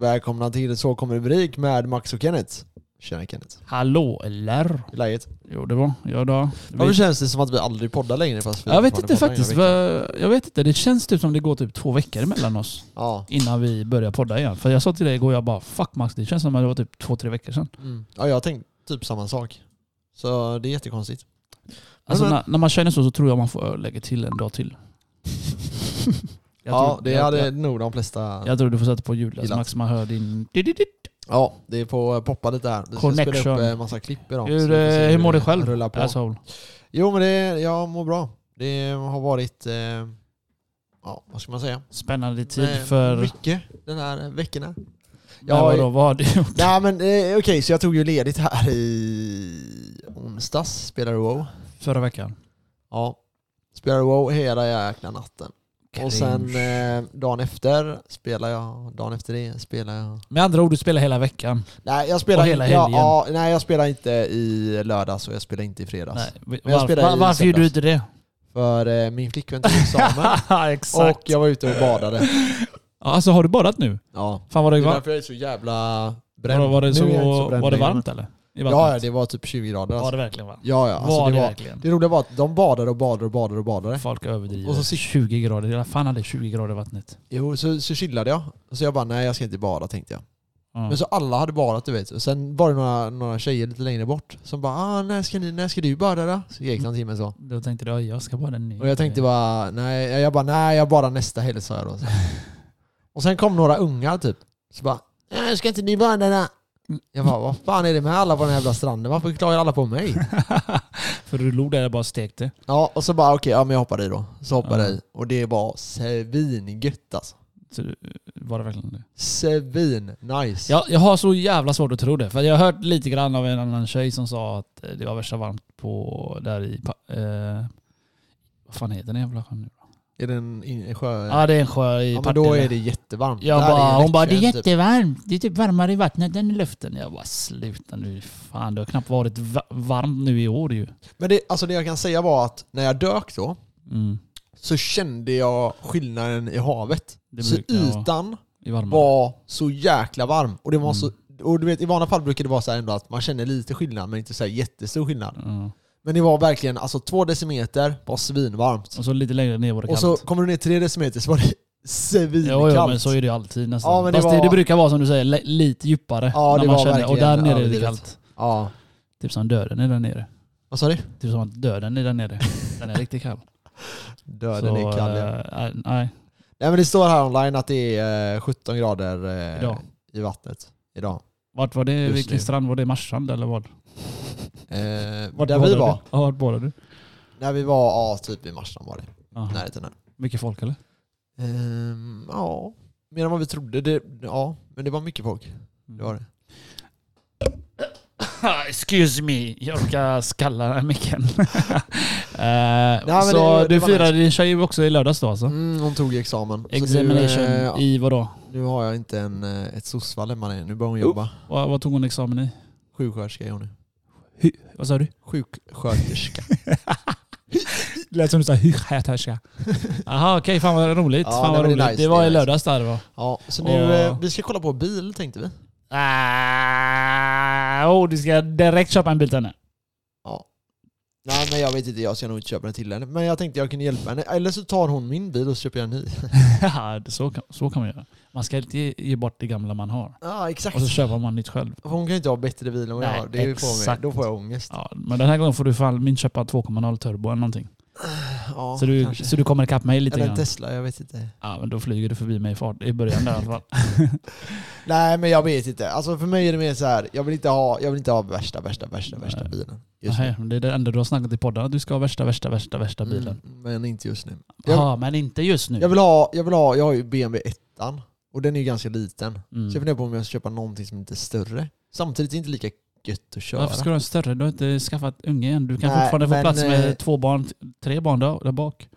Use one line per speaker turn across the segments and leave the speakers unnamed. Välkomna till Så kommer rubrik med Max och Kenneth. Tjena Kenneth.
Hallå eller?
Hur är läget?
Jo det var jag då.
Varför känns det som att vi aldrig poddar längre? Fast vi
jag vet
fortfarande
inte
poddar en
faktiskt.
gång i veckan?
vad- Jag vet inte. Det känns typ som det går typ två veckor emellan oss
Ja.
innan vi börjar podda igen. För jag sa till dig igår, jag bara fuck Max, det känns som att det var typ två, tre veckor sedan.
Mm. ja, jag har tänkt typ samma sak. Så det är jättekonstigt.
Alltså
Men-
när, när man känner så så tror jag man får lägga till en dag till. Jag
ja,
tror-
det
jag,
hade
jag,
nog de flesta...
jag tror du får sätta på ljudet
Gillat.
Max, man hör din...
Ja, det får eh, poppa lite här. Vi ska spela
Connection.
upp eh, massa klipp idag. så
Hur,
vi får se
eh, hur mår du
det
själv? Alltså-
Rullar på.
Asshole.
Jo men det, jag mår bra. Det har varit, eh, ja vad ska man säga?
Spännande tid
Eh,
för...
Mycket den här veckan. här.
Ja,
jag-
vadå, vad har du gjort?
Nej men eh, okej, så jag tog ju ledigt här i onsdags, spelade WoW.
Förra veckan?
Ja. Spelade WoW hela jäkla natten. Och sen
Cringe.
eh, dagen efter spelade jag, dagen efter det spelade jag.
Med andra ord, du spelar hela veckan.
Nej jag spelade,
Och hela
inte- ja,
helgen.
ja, nej, jag spelade inte i lördags och jag spelade inte i fredags.
Nej, var,
jag spelar
var,
i
varför gjorde du
söndags.
inte det?
För eh, min flickvän tog examen
Exakt.
och jag var ute och badade.
Ja, Alltså har du badat nu?
Ja.
Fan var det,
Det är
var,
därför jag är så jävla bränd.
var, var det,
Nu
så,
är jag inte så bränd
var det
längre.
varmt eller? I
Ja, ja, det var typ 20 grader
var
alltså.
det verkligen varmt?
Ja, ja. Alltså,
var
det,
det,
var...
verkligen?
det roliga var att de badade och badade och badade och badade.
Folk överdriver.
Och
Och
så
så
sitter-
20 grader. Jag fan hade 20 grader i vattnet.
Jo, så, så chillade jag. Så jag bara, nej jag ska inte bada tänkte jag.
Ja.
Men så alla hade badat du vet. Och sen var det några, några tjejer lite längre bort som bara, ah, när, ska ni, när ska du bada då? Så gick någon timme så.
Då tänkte du, "Ja, jag ska bada nu.
Och jag tänkte bara, nej, jag bara, nej jag badar nästa helg sa jag då. Så. Och sen kom några ungar typ. Så bara, nej ska inte ni bada då? Jag bara, vad fan är det med alla på den här jävla stranden? Varför klagar alla på mig?
För du låg där och bara stekte.
Ja, och så bara okej, ja men jag hoppar i då. Så hoppar jag
Ja.
i. Och det var svingött alltså.
Så du- var det verkligen det?
Svin nice.
Jag, jag har så jävla svårt att tro det. För jag har hört lite grann av en annan tjej som sa att eh, det var värsta varmt på där i... pa- Eh, vad fan heter den jävla sjön nu?
Är det en in- en sjö?
Ja, det är en sjö i
Ja, men
Partille.
då är det jättevarmt.
Jag
Där
bara,
är
hon bara, det är
lättköpt, typ.
jättevarmt. Det är typ varmare i vattnet än i luften. Jag bara, sluta nu. Fan, det har knappt varit va- varmt nu i år ju.
Men det, alltså det jag kan säga var att när jag dök då
Mm.
så kände jag skillnaden i havet.
Det
så
brukar vara
ytan
I varmare.
var så jäkla varm. Och, det var
Mm.
så, och du vet, i vanliga fall brukar det vara så här ändå att man känner lite skillnad men inte så här jättestor skillnad.
Ja.
Men det var verkligen, alltså två decimeter var svinvarmt.
Och så lite längre ner var det
Och
kallt.
så kommer du ner tre decimeter så var det
jo,
svinkallt.
jo, men så är det ju alltid nästan.
Ja, men det
Fast det,
var-
det brukar vara som du säger, le- lite djupare.
Ja, det
när man
var
känner, och
verkligen
där nere är det
överdrivet.
kallt.
Ja.
Typ som döden är där nere.
Vad sa du?
Typ som att döden är där nere. Den är riktigt kall.
Döden är kall ja.
eh, eh, nej.
Nej men det står här online att det är eh, 17 grader eh,
Idag.
i vattnet idag.
Vart var det?
Just
vilken
nu.
strand var det? Marstrand eller vad?
Eh,
Vart
där vi
badade
var,
du? Ja, vart badade du?
när vi var, ja typ i Marstrand var det.
Ja.
Närheten där.
Mycket folk eller?
Ehm, ja, mer än vad vi trodde. Det, ja, men det var mycket folk. Det var det.
Ah, Excuse me, jag råkade skalla den här micken. Eh,
men
så
det- det
du
var
firade din tjej också i lördags då alltså?
Mm, hon tog ju examen. Så
Examination
Nu, eh, ja,
i vadå?
nu har jag inte en, eh, ett soc-fall hemma längre. Nu börjar hon jobba.
Vad, vad tog hon examen i?
Sjuksköterska är hon nu.
Vad sa du?
Sjuksköterska.
Lät som du sa hyschäterska. Jaha okej, fan vad roligt.
Ja,
fan
nej,
vad
men det
roligt.
är
Det,
nice, det
var
är
i
nice.
lördags där det var.
ja, så nu,
Åh.
eh, vi ska kolla på bil tänkte vi.
Ah, oh, du ska direkt köpa en bil till henne.
Nej men jag vet inte, jag ska nog inte köpa den till henne. Men jag tänkte jag kunde hjälpa henne. Eller så tar hon min bil och så köper jag en ny.
Ja, det- så, kan, så kan man göra. Man ska inte ge, ge bort det gamla man har.
Ja exakt.
Och så köper man nytt själv.
Alltså, Hon kan ju inte ha bättre bil än vad jag
Nej,
har. Det får mig,
exakt.
då får jag ångest.
Ja, men den här gången får du fan min köpa 2.0 turbo eller någonting.
Ja,
Så du,
kanske.
så du kommer ikapp mig lite
Eller en
grann?
Tesla, jag vet inte.
Ja, men då flyger du förbi mig i fart i början där i alla fall.
Nej men jag vet inte. Alltså för mig är det mer så här. jag vill inte ha, jag vill inte ha värsta, värsta, värsta,
Nej.
värsta bilen. Just
Nej, men det är det enda du har snackat i podden, att du ska ha värsta, värsta, värsta, värsta
nu.
bilen.
Mm, men inte just nu.
Ja,
Jag,
men inte just nu.
jag vill ha, jag vill ha, jag har ju BMW 1 och den är ju ganska liten. Så jag
mm.
funderar på om jag ska köpa någonting som inte är större. Samtidigt är det inte lika gött att köra.
Varför ska du ha en större? Du har inte skaffat unge än. Du kan
Nej,
fortfarande
men,
få plats med
eh,
två barn, t- tre barn där, där bak.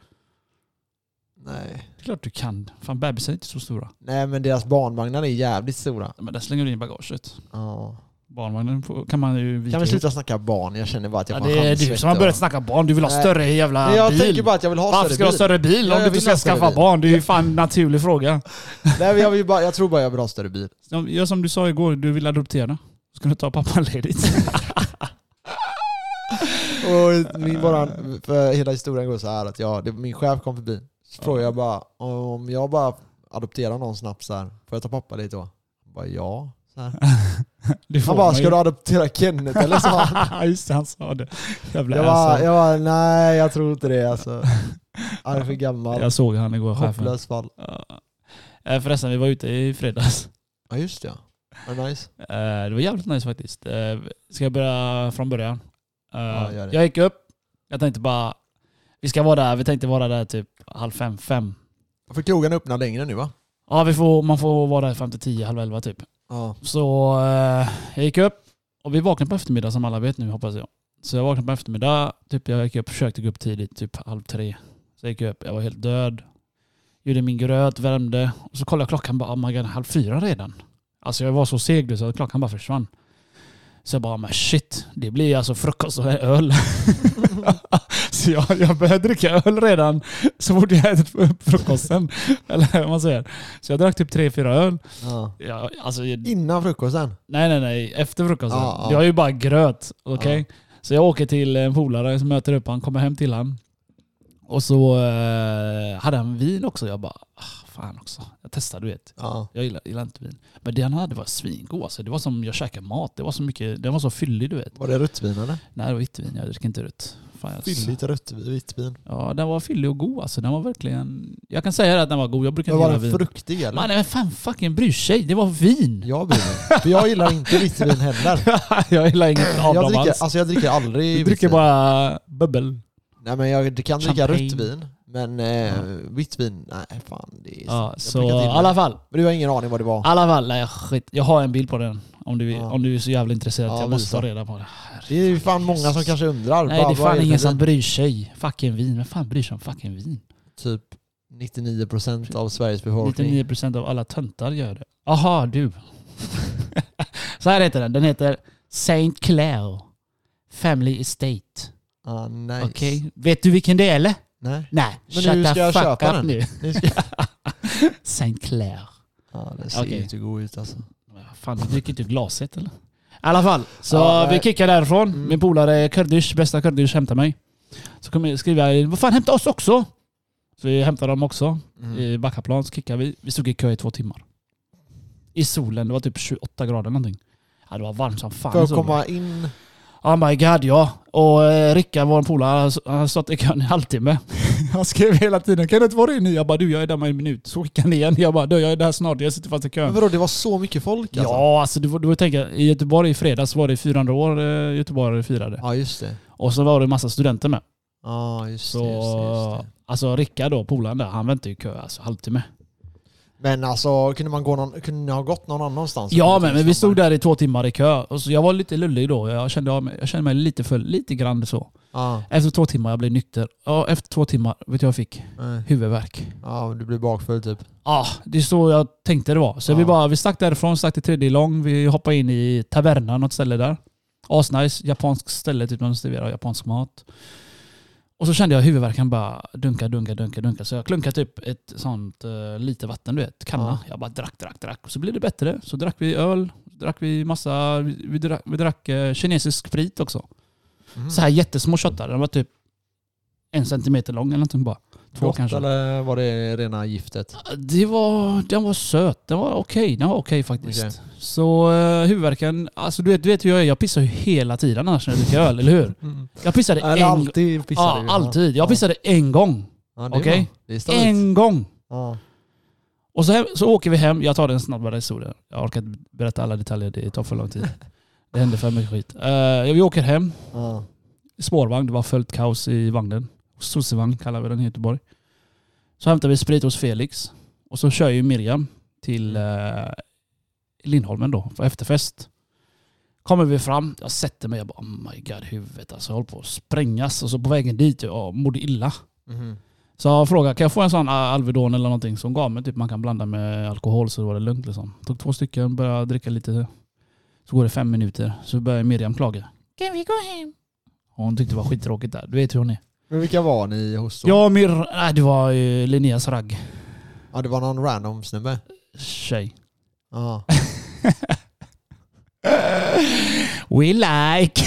Nej.
Det är klart du kan. Fan, bebisar är inte så stora.
Nej men deras barnvagnar är jävligt stora.
Men där slänger du in bagaget.
Ja.
Barnvagnen får- kan man ju vika
Kan vi
ihop.
sluta snacka barn? Jag känner bara att jag
Ja,
får
det är du
handsvett
som har börjat
och-
snacka barn. Du vill ha
Nej.
större jävla
Nej, Jag
Ah, bil.
tänker bara att jag vill ha
Varför ska du ha
större bil.
större bil
Ja, jag
om du inte
vill
ska
ha större
skaffa
bil.
barn? Det är ju fan en naturlig fråga.
Nej, men jag, vill bara, jag tror bara jag vill ha större bil.
Som- Gör som du sa igår, du vill adoptera. Ska du ta pappaledigt? Ah.
Och min, våran, för hela historien går så här att jag, det, min chef kom förbi.
Ah.
Så frågade jag bara om jag bara adopterar någon snabbt så här, får jag ta pappa dit då? Jag bara ja. Så här.
Det får
Han bara,
man ju.
ska du adoptera Kenneth eller så?
Just det, han sa det. Jävla
Jag
jag,
bara, jag bara, nej jag tror inte det alltså. Han är för gammal.
jag såg han igår, chefen.
Hopplöst fall.
Ja. Eh, Förresten, vi var ute i fredags.
Ja just det ja. Vad nice.
Eh, Det var jävligt nice faktiskt. Eh, Ska jag börja från början? Eh,
Ja, gör det.
jag gick upp, jag tänkte bara, vi ska vara där, vi tänkte vara där typ halv fem, fem.
För krogen öppnar längre nu va?
Ja, vi får, man får vara där fram till tio, halv elva typ.
Ja.
Så eh, jag gick upp och vi vaknade på eftermiddag som alla vet nu hoppas jag. Så jag vaknade på eftermiddag, typ jag gick upp, försökte gå upp tidigt, typ halv tre. Så jag gick upp, jag var helt död. Gjorde min gröt, värmde. Och så kollade jag klockan, bara oh my god, halv fyra redan. Alltså jag var så seg du, så att klockan bara försvann. Så jag bara, men shit, det blir alltså frukost och öl. så jag, jag började dricka öl redan så fort jag ätit upp frukosten. Eller vad man säger. Så jag drack typ tre, fyra öl.
ja.
Jag, alltså,
Innan frukosten?
Nej, nej, nej. Efter frukosten.
Ja, ja.
Jag har ju bara gröt. Okej? Så jag åker till en polare som möter upp han, kommer hem till han. Och så eh, hade han vin också. Jag bara, ah, fan också. Jag testade du vet.
Ja.
Jag gillar, gillar inte vin. Men det han hade var svingod alltså. Det var som jag käkade mat. Det var så mycket, den var så fyllig du vet.
Var det röttvin eller?
Nej det var vitt vin, jag dricker inte rött. Fan, jag-
Fylligt röttvin, vitt vin.
Ja den var fyllig och god alltså. Den var verkligen... Jag kan säga det att den var god. Jag brukar
Men
inte
var
gilla
den
vin.
fruktig eller?
Man, nej, men fan fucking bryr sig. Det var vin.
Jag bryr mig. För jag gillar inte vitt vin heller.
jag gillar inget av
Jag
dem
dricker,
alls.
alltså jag dricker aldrig
Du
vitt
dricker
vin.
bara bubbel.
Nej men jag kan dricka
Champagne.
rött vin. Men eh, vitt vin, nej fan det är...
Ja,
jag
så
brukar inte
i
gilla
alla
det.
fall.
Men du har ingen aning vad det var?
alla fall nej, skit. Jag har en bild på den. Om du,
Ja.
om du är så jävla intresserad.
Ja,
jag
visa.
måste ta reda på det.
Det är ju fan många som kanske undrar.
Nej, det är
vad
fan
för
ingen
vin?
som bryr sig. Fucking vin. Vem fan bryr sig om fucking vin?
Typ 99% av Sveriges befolkning.
99% av alla töntar gör det. Aha, du. så här heter den. Den heter Saint Clair Family Estate.
Ah, nice.
Okej. Vet du vilken det är eller?
Nej.
Nej.
Men nu ska jag köpa den.
nu.
Ni ska...
Saint Clair.
Ja, den ser
Okej.
ju inte god ut alltså.
Men Fan, du dricker inte glaset eller? I alla fall, så
Ja, nej.
vi kickar därifrån.
Mm.
Min polare Kurdish, bästa Kurdish, hämtar mig. Så kommer jag skriva, vad fan hämta oss också! Så vi hämtar dem också.
Mm.
I Backaplan så kickar vi. Vi stod i kö i två timmar. I solen, det var typ 28 grader någonting. Ja, det var varmt som fan.
För
i
att
solen.
komma in...
Oh my god ja. Och eh, Rickard, vår polare, han han har stått i kön i en halvtimme. Han skrev hela tiden “Kan det inte vara det nu?” Jag bara “Du, jag är där med en minut”. Så skickade han igen. Jag bara “Du, jag är där snart. Jag sitter fast i
Men
kön”.
vadå, det var så mycket folk alltså?
Ja, alltså du, får- du får tänka. I Göteborg i fredags var det 400 år eh, göteborgare firade.
Ja, just det.
Och så var det massa studenter med.
Ja, just,
Så,
det, just, det, just det.
alltså Rickard då, polaren där, han väntade i kö alltså halvtimme.
Men alltså, kunde man gå någon, kunde ni ha gått någon annanstans? Liksom?
Ja men, men vi stod där i två timmar i kö. Och så jag var lite lullig då. Jag kände, av mig- jag kände mig lite full, lite grann så.
Ja,
Efter två timmar jag blev nykter. Ja, efter två timmar, vet du vad jag fick?
nej.
Huvudvärk.
ja, du blir bakfull typ.
Ja, det är så jag tänkte det var. Så
Ja.
vi bara, vi stack därifrån, stack till tredje lång. Vi hoppade in i taverna, något ställe där. Asnice, japanskt ställe, typ man serverar japansk mat. Och så kände jag huvudvärken bara dunka, dunka, dunka, dunka. Så jag klunkade typ ett sånt eh, lite vatten, du vet, kanna.
Ja.
Jag bara drack, drack, drack. Och så blev det bättre. Så drack vi öl, drack vi massa, vi, vi drack, vi drack eh, kinesisk sprit också.
Mm.
Så här jättesmå shottar, de var typ en centimeter lång eller någonting bara. Två
Gott,
kanske.
eller var det rena giftet?
Det var, den var söt. Den var okej. Den var okej faktiskt.
Okej.
Så uh, huvudvärken, alltså du vet, du vet hur jag är. Jag pissar ju hela tiden annars när jag dricker öl, eller hur?
Mm.
Jag pissade
Eller
en
alltid pissar
Ja,
du?
alltid. Jag
Ja.
pissade en gång.
Ja, det är
Okej.
bra. Det är stabilt.
En gång!
Ja.
Och så, hem, så åker vi hem. Jag tar den snabbare historien. Jag orkar inte berätta alla detaljer, det tar för lång tid. Det hände för mycket skit. Uh, vi åker hem,
Ja.
spårvagn. Det var fullt kaos i vagnen. Sossevagn kallar vi den i Göteborg. Så hämtar vi sprit hos Felix. Och så kör ju Miriam till eh, Lindholmen då, för efterfest. Kommer vi fram, jag sätter mig, jag bara oh my god huvudet alltså, jag håller på att sprängas. Och så på vägen dit, jag mådde illa.
Mhm.
Så jag frågade, kan jag få en sån Al- Alvedon eller någonting som gav mig? Typ man kan blanda med alkohol så var det lugnt liksom. Tog två stycken, började dricka lite. Så går det fem minuter, så börjar Miriam klaga. Kan vi gå hem? Hon tyckte det var skittråkigt där. Du vet hur hon är.
Men vilka var ni hos? då?
Ja, Mir... Nej, det var eh, Linneas ragg.
ja det var någon random snubbe.
Tjej.
Ja.
We like.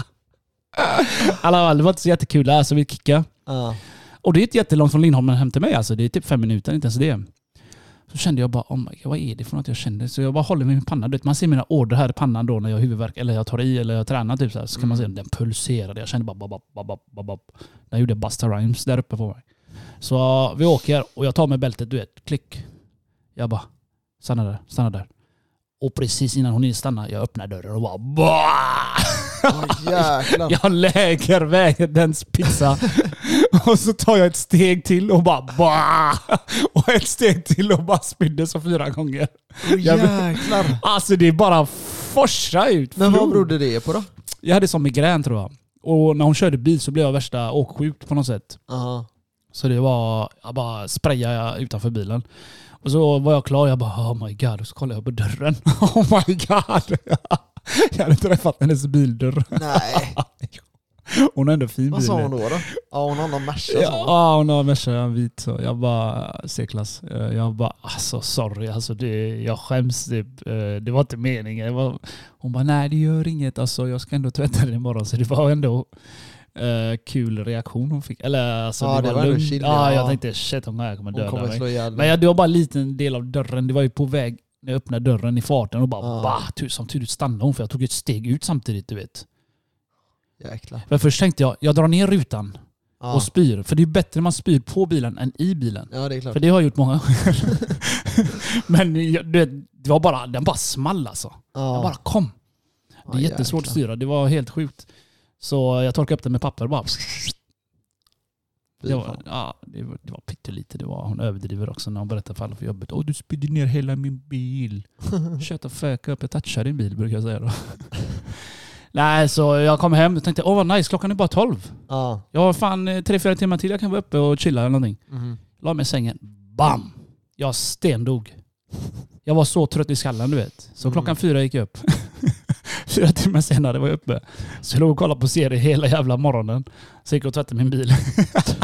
Alla, det var inte så jättekul där, så vi kickade.
Ja.
Och det är inte jättelångt från Lindholmen hem till mig alltså. Det är typ fem minuter, inte ens det. Så kände jag bara, oh my God, vad är det för något jag känner? Så jag bara håller min panna. Du vet, man ser mina ådror här i pannan då när jag har huvudvärk eller jag tar i eller jag tränar. Typ så, här. så kan man se den pulserade. Jag kände bara, bap, bap, bap, bap, bap. Den gjorde Busta Rhymes där uppe på mig. Så vi åker och jag tar med bältet, du vet, klick. Jag bara, stanna där, stanna där. Och precis innan hon hinner stanna, jag öppnar dörren och bara, bah!
Oh, jäklar.
Jag lägger vägens pizza. och så tar jag ett steg till och bara bah! Och ett steg till och bara spydde så fyra gånger.
Oh, jäklar.
Alltså det är bara forsa ut.
Men vad
flod.
berodde det på då?
Jag hade som migrän tror jag. Och när hon körde bil så blev jag värsta åksjuk på något sätt.
Ja.
Så det var, jag bara sprayade utanför bilen. Och så var jag klar, jag bara oh my god. Och så kollade jag på dörren. Oh my god. Jag hade träffat hennes bildörr.
Nej.
Hon har ändå fin bil.
Vad sa hon då? då? Ja, hon har någon Merca sa hon.
Ja, ah, hon har Merca, en vit. Så jag bara, C-klass. Eh, Jag bara, alltså sorry, alltså, det, jag skäms typ. Eh, Det var inte meningen. Det var, hon bara, nej det gör inget, alltså, jag ska ändå tvätta den imorgon. Så det var ändå eh, kul reaktion hon fick. Eller alltså,
Ja, det var ändå
lugnt.
chill,
ja,
ja.
jag tänkte shit, hon här kommer
Hon
döda
kommer
mig.
slå ihjäl
Men
dig.
jag, det var bara en liten del av dörren. Det var ju på väg när jag öppnade dörren i farten och bara,
Ja.
bah, tur, som tur stannade hon för jag tog ett steg ut samtidigt, du vet.
Jäklar.
Men först tänkte jag, jag drar ner rutan
Ja.
och spyr. För det är bättre när man spyr på bilen än i bilen.
ja, det är klart.
För det har jag gjort många gånger. Men jag- du vet, det var bara, den bara small alltså.
Ja.
Den bara kom.
Ja,
Det är jättesvårt att
jäklar.
styra. Det var helt sjukt. Så jag torkade upp den med papper och bara...
Fy
Det
fan.
var, ja, det var, det var pyttelite. Det var, hon överdriver också när hon berättar för alla för jobbet. Åh, du spydde ner hela min bil. Shut the fuck up. Jag touchar din bil brukar jag säga då. Nej, så jag kom hem och tänkte, åh vad nice, klockan är bara tolv.
Ja.
Jag har fan eh, tre, fyra timmar till jag kan vara uppe och chilla eller någonting.
Mhm.
La mig i sängen. Bam! Jag stendog. Jag var så trött i skallen du vet. Så
Mm.
klockan fyra gick jag upp. fyra timmar senare var jag uppe. Så jag låg och kollade på serier hela jävla morgonen. Så gick jag och tvättade min bil.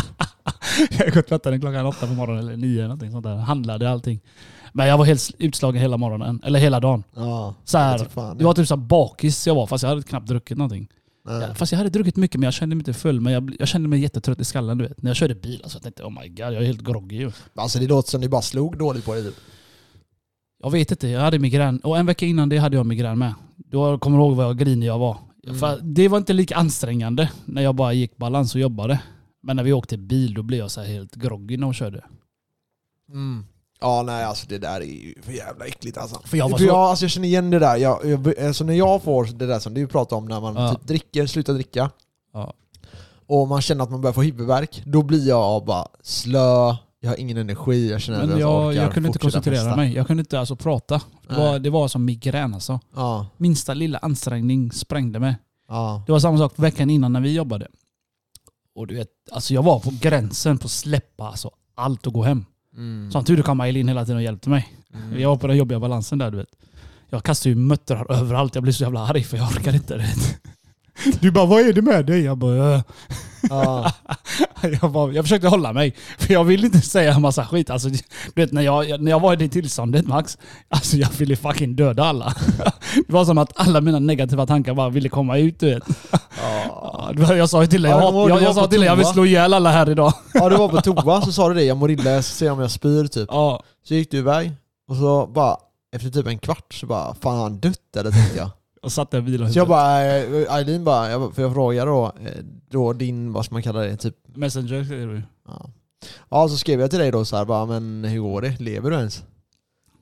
jag gick och tvättade den klockan åtta på morgonen eller nio eller någonting sånt där. Handlade allting. Men jag var helt utslagen hela morgonen. Eller hela dagen.
Ja.
Så
Jag
här,
tror fan
det var typ så här bakis jag var fast jag hade knappt druckit någonting.
Nej.
Ja, Fast jag hade druckit mycket men jag kände mig inte full. Men jag, bl- jag kände mig jättetrött i skallen du vet. När jag körde bil alltså, jag tänkte oh my god jag är helt groggy ju.
Alltså det låter som ni bara slog dåligt på det typ.
Jag vet inte, jag hade migrän. Och en vecka innan det hade jag migrän med. Då kommer jag ihåg vad grinig jag var.
Mm.
För det var inte lika ansträngande när jag bara gick balans och jobbade. Men när vi åkte bil då blev jag så här helt groggy när hon körde.
Mm. Ja nej alltså det där är ju för jävla äckligt alltså.
För jag var
För
så...
jag, alltså jag känner igen det där. Jag, jag, alltså när jag får det där som du pratar om när man
Ja.
typ dricker, slutar dricka
Ja.
och man känner att man börjar få huvudvärk, då blir jag bara slö, jag har ingen energi, jag känner
Men
att
jag,
orkar
jag kunde inte
fortsätta
koncentrera
festa.
mig. Jag kunde inte alltså prata. Det
Nej.
var, det var som migrän alltså.
Ja,
Minsta lilla ansträngning sprängde mig.
ja.
Det var samma sak veckan innan när vi jobbade. Och du vet, alltså jag var på gränsen på att släppa alltså allt och gå hem.
Mm.
Som tur kom Eileen hela tiden och hjälpte mig.
Mm.
Jag var på den jobbiga balansen där du vet. Jag kastar ju möttrar överallt. Jag blir så jävla arg för jag orkar inte. Du, vet. du bara, vad är det med dig? Jag bara, "Äh."
Ja.
jag, bara, jag försökte hålla mig. För jag vill inte säga en massa skit. Alltså, du vet, när, jag, när jag var i det tillståndet Max, alltså jag ville fucking döda alla. Det var som att alla mina negativa tankar bara ville komma ut du vet.
Ja.
Det var- Jag sa ju till dig,
Ja,
jag,
det var-
hat-
det
jag,
var
jag sa
på
till dig, jag vill
toa.
slå ihjäl alla här idag.
ja, du var på toa så sa du det, jag mår illa, jag ska se om jag spyr typ.
Ja.
Så gick du iväg och så bara efter typ en kvart så bara, fan har han dött eller tänkte jag.
Och satt där och vilade
Så jag
huvudet.
bara, eh, Eileen bara, jag, bara- för jag frågade då, eh, då din, vad ska man kalla det, typ,
Messenger säger du.
ja. ja så skrev jag till dig då så här, bara, men hur går det? Lever du ens?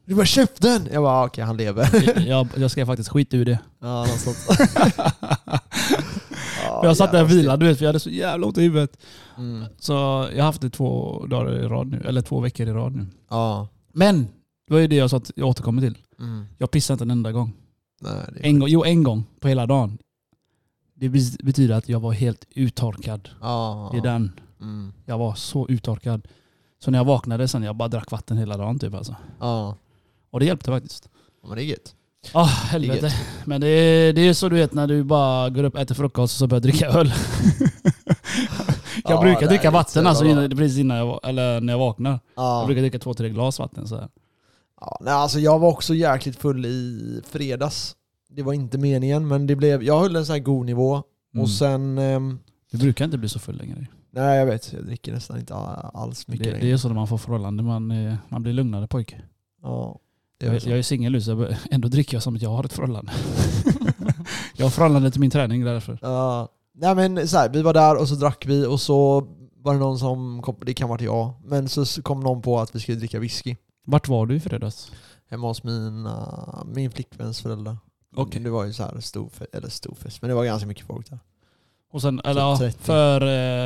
Du bara käften! Jag bara, okej han lever.
Jag, jag skrev faktiskt skit ur det.
Ja, något sånt. Ja,
jag satt där och
jävla
vilade du vet, för jag hade så jävla ont i huvudet.
skit. Mm.
Så jag har haft det två dagar i rad nu, eller två veckor i rad nu.
Ja.
Men! Det var ju det jag sa att jag återkommer till.
Mm.
Jag pissar inte en enda gång.
Nej, det är...
En gång jo, en gång på hela dagen. Det be- betyder att jag var helt uttorkad.
Ja.
Det är den.
Mm.
Jag var så uttorkad. Så när jag vaknade sen, jag bara drack vatten hela dagen typ alltså.
Ja.
Och det hjälpte faktiskt.
Men det är gött. Det
Ja,
är
Ah, helvete. Men det är, det är så du vet när du bara går upp, äter frukost och så börjar dricka öl. jag
Ja,
brukar
nej,
dricka vatten
det är
alltså,
bra.
innan, precis innan jag, va- eller när jag vaknar. Jag
Ja.
brukar dricka två, tre glas vatten så här.
Ja, nej, alltså jag var också jäkligt full i fredags. Det var inte meningen, men det blev, jag höll en sån här god nivå.
Mm.
Och sen... ehm,
Du brukar inte bli så full längre.
nej, jag vet. Jag dricker nästan inte a- alls mycket
Det,
längre.
det är så när man får förhållande, man, eh, man blir lugnare pojke.
ja, det är
Jag,
väl så.
jag är singel nu så jag bör- ändå dricker jag som att jag har ett förhållande. jag har förhållande till min träning därför.
Ja. nej, men så här, vi var där och så drack vi och så var det någon som kom, det kan vara jag, men så s- kom någon på att vi skulle dricka whisky
Vart var du i fredags?
hemma hos mina, min flickväns föräldrar.
Okej.
Det var ju så här stor fest, eller stor fest, men det var ganska mycket folk där.
Och sen,
Typ
eller ja,
30.
för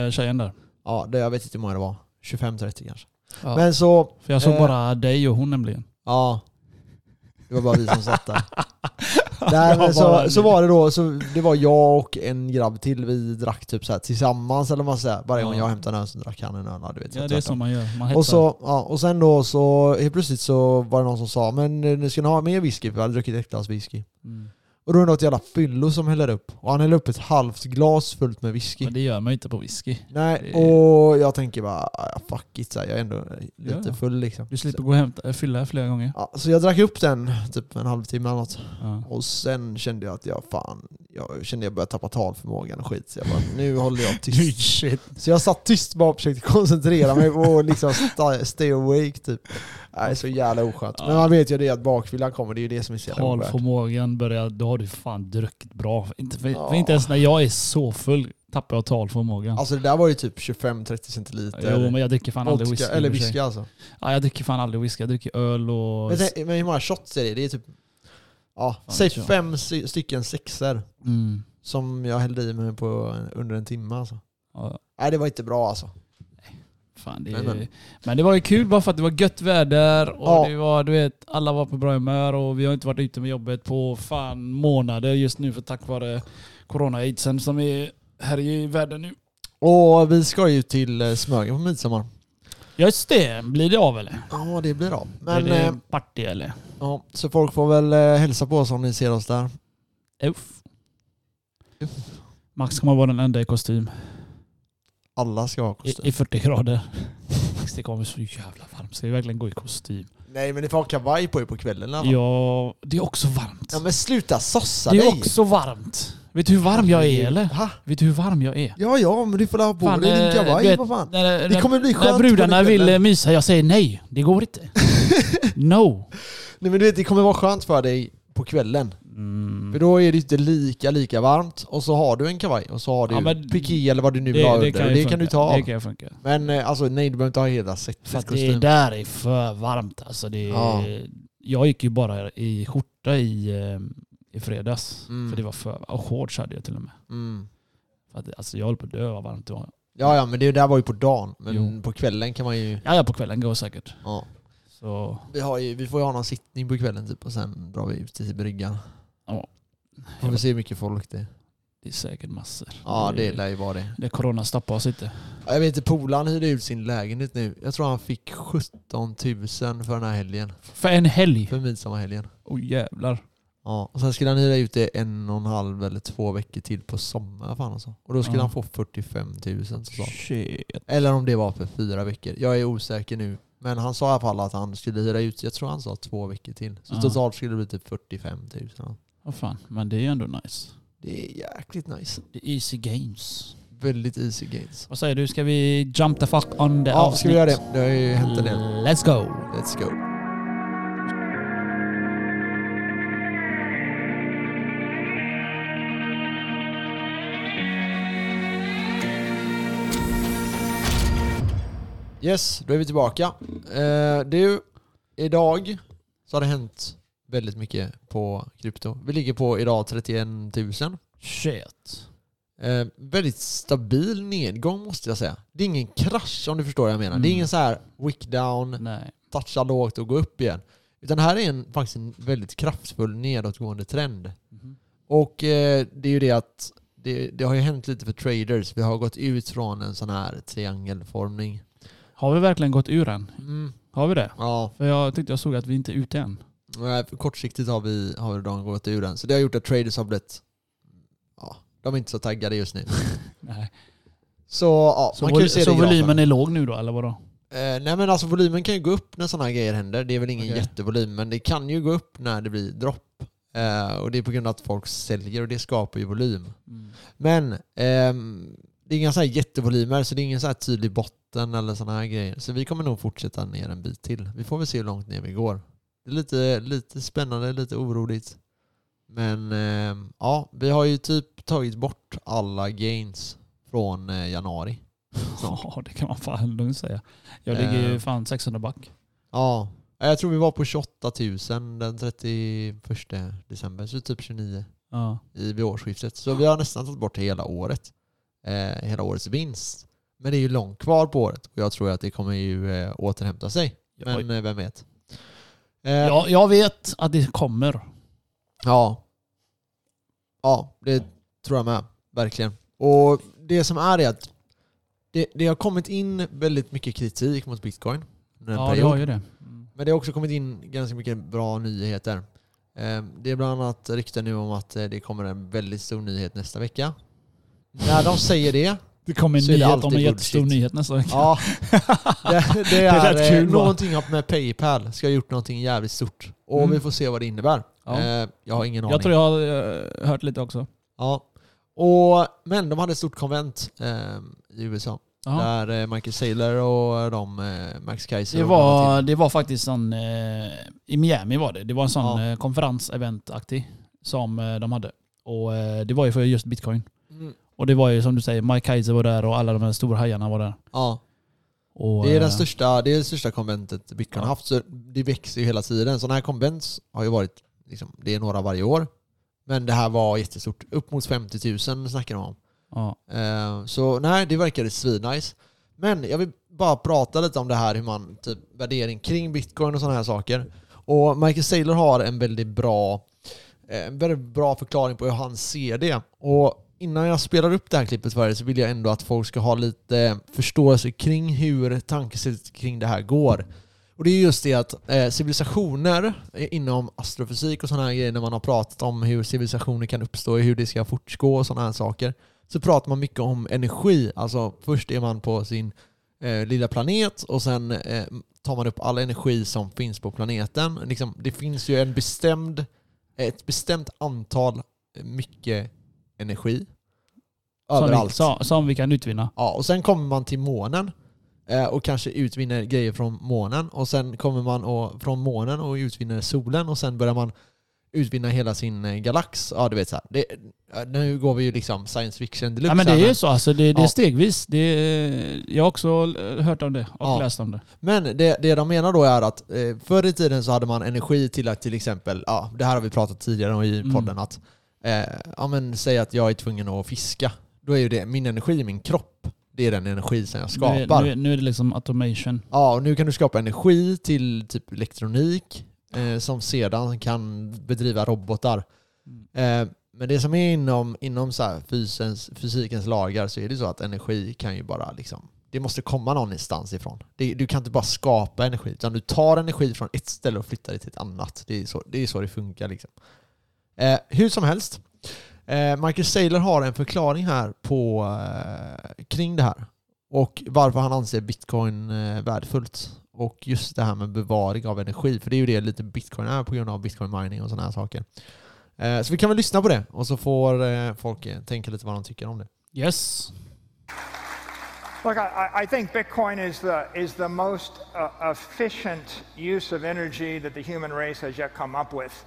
eh, tjejen där.
Ja, det, jag vet inte hur många det var. 25-30 kanske.
Ja.
Men så,
för jag såg
eh,
bara dig och hon nämligen.
Ja. Det var bara vi som satt där. Nej, men
Jag bara-
så, så var det då, så det var jag och en grabb till, vi drack typ så här tillsammans eller vad man säger. Varje gång
Ja.
jag hämtade en öl så drack han en öl. Du vet, så
Ja det är
tvärtom.
så man gör. Man hetsar.
och, så, ja, och sen då så, helt plötsligt så var det någon som sa men eh, nu ska ni ha mer whisky, för vi hade druckit ett glas whisky.
Mm.
Och då är det något jävla fyllo som häller upp. Och han häller upp ett halvt glas fullt med whisky.
Men det gör man ju inte på whisky.
Nej,
det-
och jag tänker bara ah, fuck it, så här, jag är ändå lite
Ja.
full liksom.
Du slipper
Så,
gå och hämta, eh, fylla flera gånger.
ja, så jag drack upp den typ en halvtimme eller något.
Ja.
Och sen kände jag att jag fan, jag kände jag började tappa talförmågan och skit. Så jag bara, nu håller jag tyst.
Shit.
Så jag satt tyst bara och försökte koncentrera mig och liksom sta- stay awake typ. Nej, så jävla oskönt. Men man vet ju det att bakfyllan kommer, det är ju det som är så jävla oskönt.
Talförmågan börjar, då har du fan druckit bra. Inte, för,
Ja.
för inte ens när jag är så full tappar jag talförmågan.
Alltså det där var ju typ 25-30 centiliter.
jo men jag dricker fan aldrig
vodka,
whisky. i
eller
och för sig.
whisky alltså.
Ja, jag dricker fan aldrig whisky. Jag dricker öl och...
Men, tänk- men hur många shots är det? Det är typ, ja,
Fan,
säg
det tror jag.
fem sy- stycken sexer
Mm.
som jag hällde i mig på under en timme alltså.
Ja,
Nej det var inte bra alltså.
fan, det är...
Nej,
men.
men-
det var ju kul bara för att det var gött väder och
Ja.
det var, du vet, alla var på bra humör och vi har inte varit ute med jobbet på fan månader just nu för tack vare corona-aidsen som är här i världen nu.
Och vi ska ju till eh, Smögen på midsommar.
Just det, blir det av eller?
Ja, det blir av. Men,
blir det
eh,
party eller?
ja, så folk får väl eh, hälsa på oss om ni ser oss där.
Uff. Max kommer vara den enda i kostym.
Alla ska ha kostym.
I, i 40 grader. Max, det kommer så jävla varmt. Ska vi verkligen gå i kostym?
Nej, men ni får ha kavaj på er på kvällen i alla fall.
Ja, det är också varmt.
Ja, men sluta sossa
Det
dig!
är också varmt. Vet du hur varm jag är eller?
Ha?
Vet du hur varm jag är?
Ja, ja, men du får ha på
Fan,
dig din
eh, du
kavaj,
vet-
vad fan.
När,
Det
när,
kommer bli skönt.
när
på den
brudarna vill eh,
kvällen.
mysa, jag säger nej. Det går inte. No.
Nej, men du vet, det kommer vara skönt för dig på kvällen. För
Mm.
då är det inte lika, lika varmt. Och så har du en kavaj och så har du
Ja, men
piké eller vad du nu vill ha
Det,
under.
det,
Det
kan, ju
kan, det kan
funka.
du ta av.
Det kan ju funka.
Men eh, alltså, nej, du behöver inte ha hela
För
sättet
att det
kostym.
där är för varmt. Alltså det,
Ja.
Jag gick ju bara i skjorta i, eh, i fredags.
Mm.
För det var för Och shorts hade jag till och med.
Mm.
För att, alltså jag höll på att dö vad varmt det var.
Ja, ja, men det där var ju på dagen. Men
Jo.
på kvällen kan man ju...
Ja, ja på kvällen går säkert.
Ja.
Så
Vi, har ju, vi får ju ha någon sittning på kvällen typ och sen drar vi ut till bryggan.
Ja.
Får vi se hur mycket folk det är.
det är säkert massor.
Ja det lär ju vara det.
Det corona stoppar oss inte.
Ja, Jag vet inte, Polan hyrde ut sin lägenhet nu. Jag tror han fick 17 000 för den här helgen.
För en helg.
För midsommarhelgen.
Åh jävlar.
Ja, och sen skulle han hyra ut det en och en halv eller två veckor till på sommaren. Fan alltså. Och då skulle
Ja.
han få 45 000 totalt.
Shit.
Eller om det var för fyra veckor. Jag är osäker nu. Men han sa i alla fall att han skulle hyra ut, jag tror han sa två veckor till. Så
Ja.
totalt skulle det bli typ 45 000.
Vad fan. Men det är ju ändå nice.
Det är jäkligt nice.
Det är easy games.
Väldigt easy gains.
Vad säger du? Ska vi jump the fuck on the
Ja,
avsnitt?
ska vi göra det? Det har ju hänt en del.
Let's go.
Let's go. Yes, då är vi tillbaka. Eh, du, idag så har det hänt väldigt mycket på krypto. Vi ligger på idag 31 000.
Shit.
Eh, väldigt stabil nedgång måste jag säga. Det är ingen krasch om du förstår vad jag menar. Det är
Mm.
ingen så här wick down,
Nej.
toucha lågt och gå upp igen. Utan här är en, faktiskt en väldigt kraftfull nedåtgående trend.
Mhm.
Och eh, det är ju det att det, det har ju hänt lite för traders. Vi har gått ut från en sån här triangelformning.
Har vi verkligen gått ur den?
Mm,
Har vi det?
ja,
För jag tyckte jag såg att vi inte är ute än.
Nej, för kortsiktigt har vi, har de gått ur den. Så det har gjort att traders har blivit... Ja, de är inte så taggade just nu.
Nej.
Så ja,
Så,
man kan ju
vol-
se
så
det i grafen.
volymen är låg nu då, eller vadå?
Eh, nej men alltså volymen kan ju gå upp när sådana här grejer händer. Det är väl ingen
Okej.
jättevolym men det kan ju gå upp när det blir dropp. Eh, och det är på grund av att folk säljer och det skapar ju volym.
Mm.
Men ehm, det är inga så här jättevolymer så det är ingen så här tydlig botten eller sådana här grejer. Så vi kommer nog fortsätta ner en bit till. Vi får väl se hur långt ner vi går. Det är lite, lite spännande, lite oroligt. Men ehm, ja, vi har ju typ tagit bort alla gains från eh, januari.
Ja, det kan man fan lugnt säga. Jag ligger ju
Eh.
fan 600 back.
Ja, jag tror vi var på 28 000 den 31 december, så typ 29
Ja.
i vid årsskiftet. Så vi har nästan tagit bort hela året. Eh, hela årets vinst. Men det är ju långt kvar på året och jag tror att det kommer ju eh, återhämta sig. Men eh, vem vet. Eh, ja.
Jag, jag vet att det kommer.
ja. det tror jag med. Verkligen. Och det som är är att det, det har kommit in väldigt mycket kritik mot bitcoin. under en
Ja, det
period.
har ju det. Mm.
Men det har också kommit in ganska mycket bra nyheter. Eh, Det är bland annat rykten nu om att eh, det kommer en väldigt stor nyhet nästa vecka. När de säger det,
Det kommer en
Så är det
nyhet
alltid
om en jättestor
bullshit.
nyhet nästa vecka.
ja, det, det
lät
är eh,
kul, va?
någonting har med Paypal ska ha gjort någonting jävligt stort. Och
Mm.
vi får se vad det innebär.
Ja.
Eh, Jag har ingen aning.
Jag tror jag har eh, hört lite också.
Ja. Och, men de hade ett stort konvent eh, i USA.
Ja.
Där eh, Michael Saylor och de, eh, Max Kaiser
Det
och några till.
var, det var faktiskt en, eh, i Miami var det. Det var en sån
Ja.
eh, konferens-event-aktig som eh, de hade. Och eh, det var ju för just bitcoin.
Mm.
Och det var ju som du säger, Mike Kaiser var där och alla de här stora hajarna var där.
Ja.
Och,
Det är,
eh,
den största, det är det största konventet Bitcoin
Ja.
har haft, så det växer ju hela tiden. Sådana här konvent har ju varit, liksom, det är några varje år. Men det här var jättestort. Upp mot 50 000 snackar de om.
Ja.
Eh, så nej, det verkade svinnice. Men jag vill bara prata lite om det här hur man, typ värdering kring bitcoin och sådana här saker. Och Michael Saylor har en väldigt bra eh, en väldigt bra förklaring på hur han ser det. Och innan jag spelar upp det här klippet för er så vill jag ändå att folk ska ha lite förståelse kring hur tankesättet kring det här går. Och det är just det att eh, civilisationer eh, inom astrofysik och sådana här grejer, när man har pratat om hur civilisationer kan uppstå och hur det ska fortgå och sådana här saker, så pratar man mycket om energi. Alltså först är man på sin eh, lilla planet och sen eh, tar man upp all energi som finns på planeten. Liksom, det finns ju en bestämd ett bestämt antal eh, mycket energi.
Som, vi,
Överallt.
sa- som vi kan utvinna.
Ja, och sen kommer man till månen eh, och kanske utvinner grejer från månen. Och sen kommer man och, från månen och utvinner solen och sen börjar man utvinna hela sin eh, galax. Ja, du vet så här. Det, eh, nu går vi ju liksom science fiction deluxe.
Ja, men det
här,
är ju så, alltså, det, det är
Ja.
stegvis. Det, är- jag har också eh, hört om det och
Ja.
läst om det.
Men det, det de menar då är att eh, förr i tiden så hade man energi till att till exempel, ja, det här har vi pratat tidigare om i
Mm.
podden, att eh, ja, men, säg att jag är tvungen att fiska. Då är ju det min energi, min kropp, det är den energi som jag
Nu
skapar.
är, nu, är, nu är det liksom automation.
Ja, och nu kan du skapa energi till typ elektronik eh, som sedan kan bedriva robotar. Eh, men det som är inom, inom så här fysens, fysikens lagar så är det så att energi kan ju bara liksom, det måste komma någonstans ifrån. Det, du kan inte bara skapa energi, utan du tar energi från ett ställe och flyttar det till ett annat. Det är så det, är så det funkar liksom. Eh, hur som helst, eh, Michael Saylor har en förklaring här på, eh, kring det här och varför han anser bitcoin eh, värdefullt. Och just det här med bevaring av energi, för det är ju det lite bitcoin är på grund av bitcoin mining och sådana här saker. Eh, Så vi kan väl lyssna på det och så får eh, folk eh, tänka lite vad de tycker om det.
Yes.
Look, I, I I think Bitcoin is the, is the most uh, efficient use of energy that the human race has yet come up with.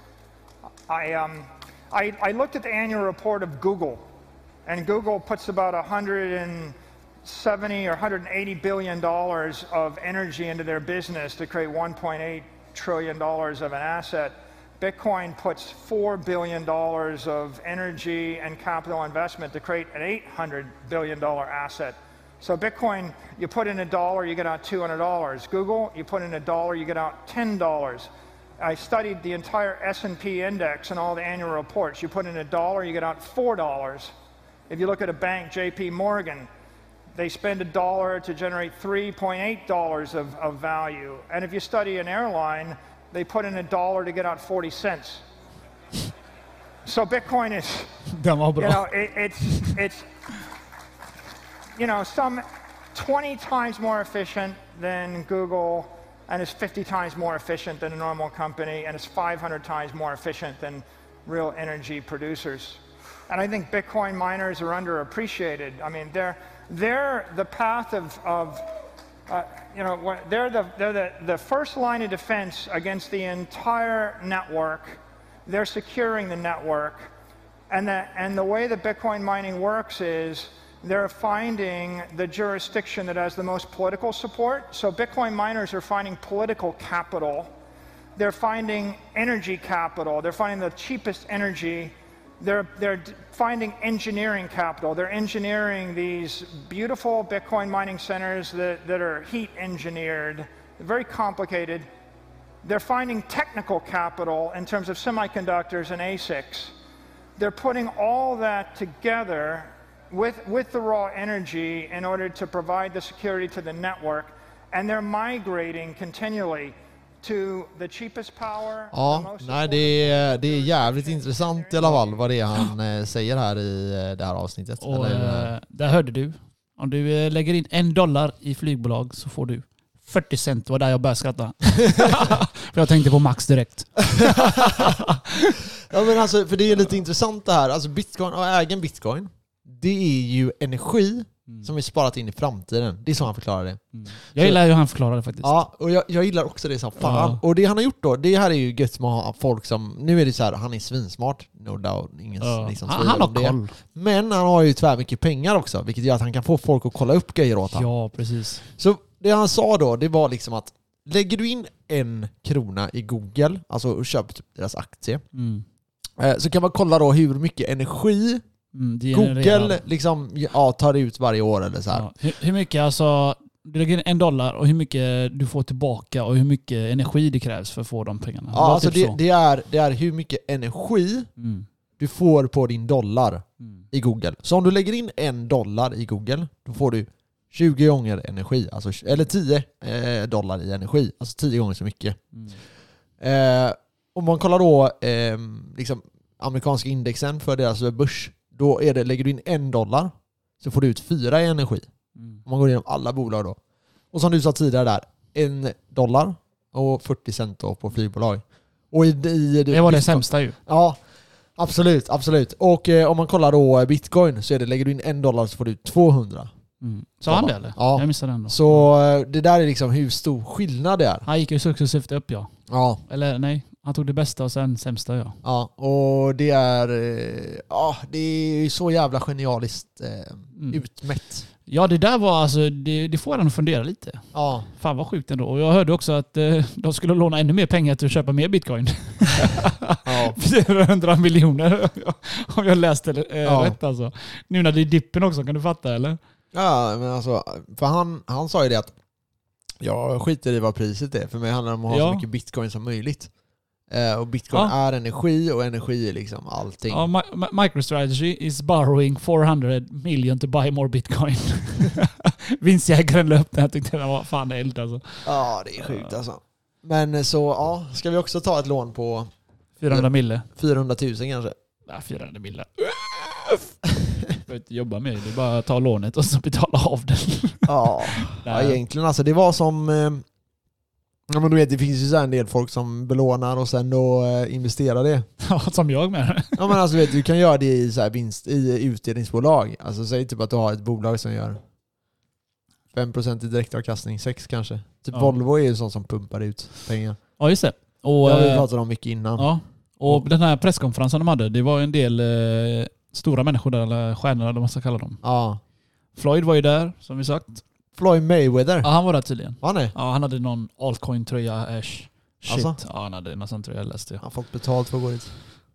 I, um, I, I looked at the annual report of Google, and Google puts about 170 or 180 billion dollars of energy into their business to create 1.8 trillion dollars of an asset. Bitcoin puts four billion dollars of energy and capital investment to create an 800 billion dollar asset. So Bitcoin, you put in a dollar, you get out $200. Google, you put in a dollar, you get out $10. I studied the entire S&P index and all the annual reports. You put in a dollar, you get out four dollars. If you look at a bank, J.P. Morgan, they spend a dollar to generate 3.8 dollars of, of value. And if you study an airline, They put in a dollar to get out 40 cents. So Bitcoin is,
Den var
you know,
bra.
it, it's, it's, you know, some 20 times more efficient than Google, and it's 50 times more efficient than a normal company, and it's 500 times more efficient than real energy producers. And I think Bitcoin miners are underappreciated. I mean, they're, they're the path of, of uh, you know, what- they're, the, they're the, the first line of defense against the entire network. They're securing the network. And the, and the way that Bitcoin mining works is they're finding the jurisdiction that has the most political support. So Bitcoin miners are finding political capital. They're finding energy capital. They're finding the cheapest energy. They're, they're d- finding engineering capital. They're engineering these beautiful Bitcoin mining centers that, that are heat engineered, very complicated. They're finding technical capital in terms of semiconductors and ASICs they're putting all that together with, with the raw energy in order to provide the security to the network, and they're migrating continually to the cheapest power. the
Ja,
most
nej,
affordable-
det, är, det är jävligt intressant i alla fall vad det är han eh, säger här i eh, det här avsnittet.
Och
Eller, eh,
eh, där hörde du. Om du eh, lägger in en dollar i flygbolag så får du 40 cent. Det var där jag började skratta. För jag tänkte på Max direkt.
Ja, men alltså, för det är lite intressant det här. Alltså bitcoin, och ägen bitcoin, det är ju energi som är sparat in i framtiden. Det är så han förklarar det.
Jag gillar hur han förklarade faktiskt.
Ja, och jag, jag gillar också det som fan.
Ja.
Och det han har gjort då, det här är ju gött med att ha folk som... Nu är det så här, han är svinsmart. No doubt, ingen
Ja.
liksom,
han,
tvivel
han
om
har
det.
koll.
Men han har ju tyvärr mycket pengar också, vilket gör att han kan få folk att kolla upp grejer åt honom.
Ja, precis.
Så det han sa då, det var liksom att lägger du in en krona i Google, alltså och köper typ deras aktie,
Mm.
eh, så kan man kolla då hur mycket energi
Mm, det genererar-
Google liksom, ja, tar ut varje år eller så här.
Ja. Hur, hur mycket alltså, du lägger in en dollar och hur mycket du får tillbaka och hur mycket energi det krävs för att få de pengarna.
Ja, alltså
typ
det,
så.
det, är, det är hur mycket energi
Mm.
du får på din dollar
Mm.
i Google. Så om du lägger in en dollar i Google, då får du 20 gånger energi, alltså, eller 10 eh, dollar i energi, alltså 10 gånger så mycket.
Mm.
Eh, om man kollar då eh, liksom amerikanska indexen för deras börs, då är det, lägger du in en dollar så får du ut fyra i energi.
Mm.
Om man går igenom alla bolag då. Och som du sa tidigare där, en dollar och 40 cent då på flygbolag. Och i, i,
Det var det sämsta ju.
Ja, absolut, absolut. Och eh, om man kollar då eh, bitcoin så är det, lägger du in en dollar så får du ut 200.
Mm. Sa han det eller?
Ja.
Jag missade den då.
Så eh, det där är liksom hur stor skillnad det är.
Han gick ju successivt upp ja.
Ja,
Eller nej, han tog det bästa och sen sämsta ja.
Ja, och det är... eh, Ja, det är ju så jävla genialiskt eh,
Mm.
utmätt.
Ja det där var alltså, det, det får en att fundera lite.
Ja,
Fan vad sjukt ändå. Och jag hörde också att eh, de skulle låna ännu mer pengar till att köpa mer bitcoin.
ja.
400 miljoner om jag läste eh,
Ja.
rätt alltså. Nu när det är dippen också, kan du fatta eller?
ja men alltså, för han, han sa ju det att jag skiter i vad priset är. För mig handlar det om att ha
Ja.
så mycket bitcoin som möjligt. Eh, och bitcoin
Ja.
är energi och energi är liksom allting.
Ja, Mi- Mi- MicroStrategy is borrowing 400 million to buy more bitcoin. Vinstjägaren la upp den. Jag tyckte den var fan eld alltså.
Ja, det är sjukt alltså. Men så, ja, ska vi också ta ett lån på
400 mille.
400 000 kanske?
Nej, 400 mille. Jag behöver inte jobba med det. Det är bara att ta lånet och så betala av den.
Ja. Ja,
Nej.
egentligen alltså. Det var som... eh, Ja, men du vet, det finns ju så här en del folk som belånar och sen då eh, investerar det.
Ja, Som jag med.
Ja, men alltså, du, vet, du kan göra det i, så här vinst, i utdelningsbolag. Alltså, säg typ att du har ett bolag som gör 5% i direktavkastning, 6 kanske. Typ
Ja.
Volvo är ju sån som pumpar ut pengar.
Ja, just det.
Det
Och,
har vi
eh,
pratat om mycket innan. Ja.
Ja. Och den här presskonferensen de hade, det var ju en del eh, stora människor där, eller stjärnor eller vad man ska kalla dem. Floyd var ju där, som vi sagt.
Floyd Mayweather.
Ja, han var där tydligen.
Var han det?
Ja, han hade någon altcoin-tröja, ash. Shit.
Alltså?
Ja, han hade någon sån tröja, läste jag.
Han har fått betalt för att gå dit.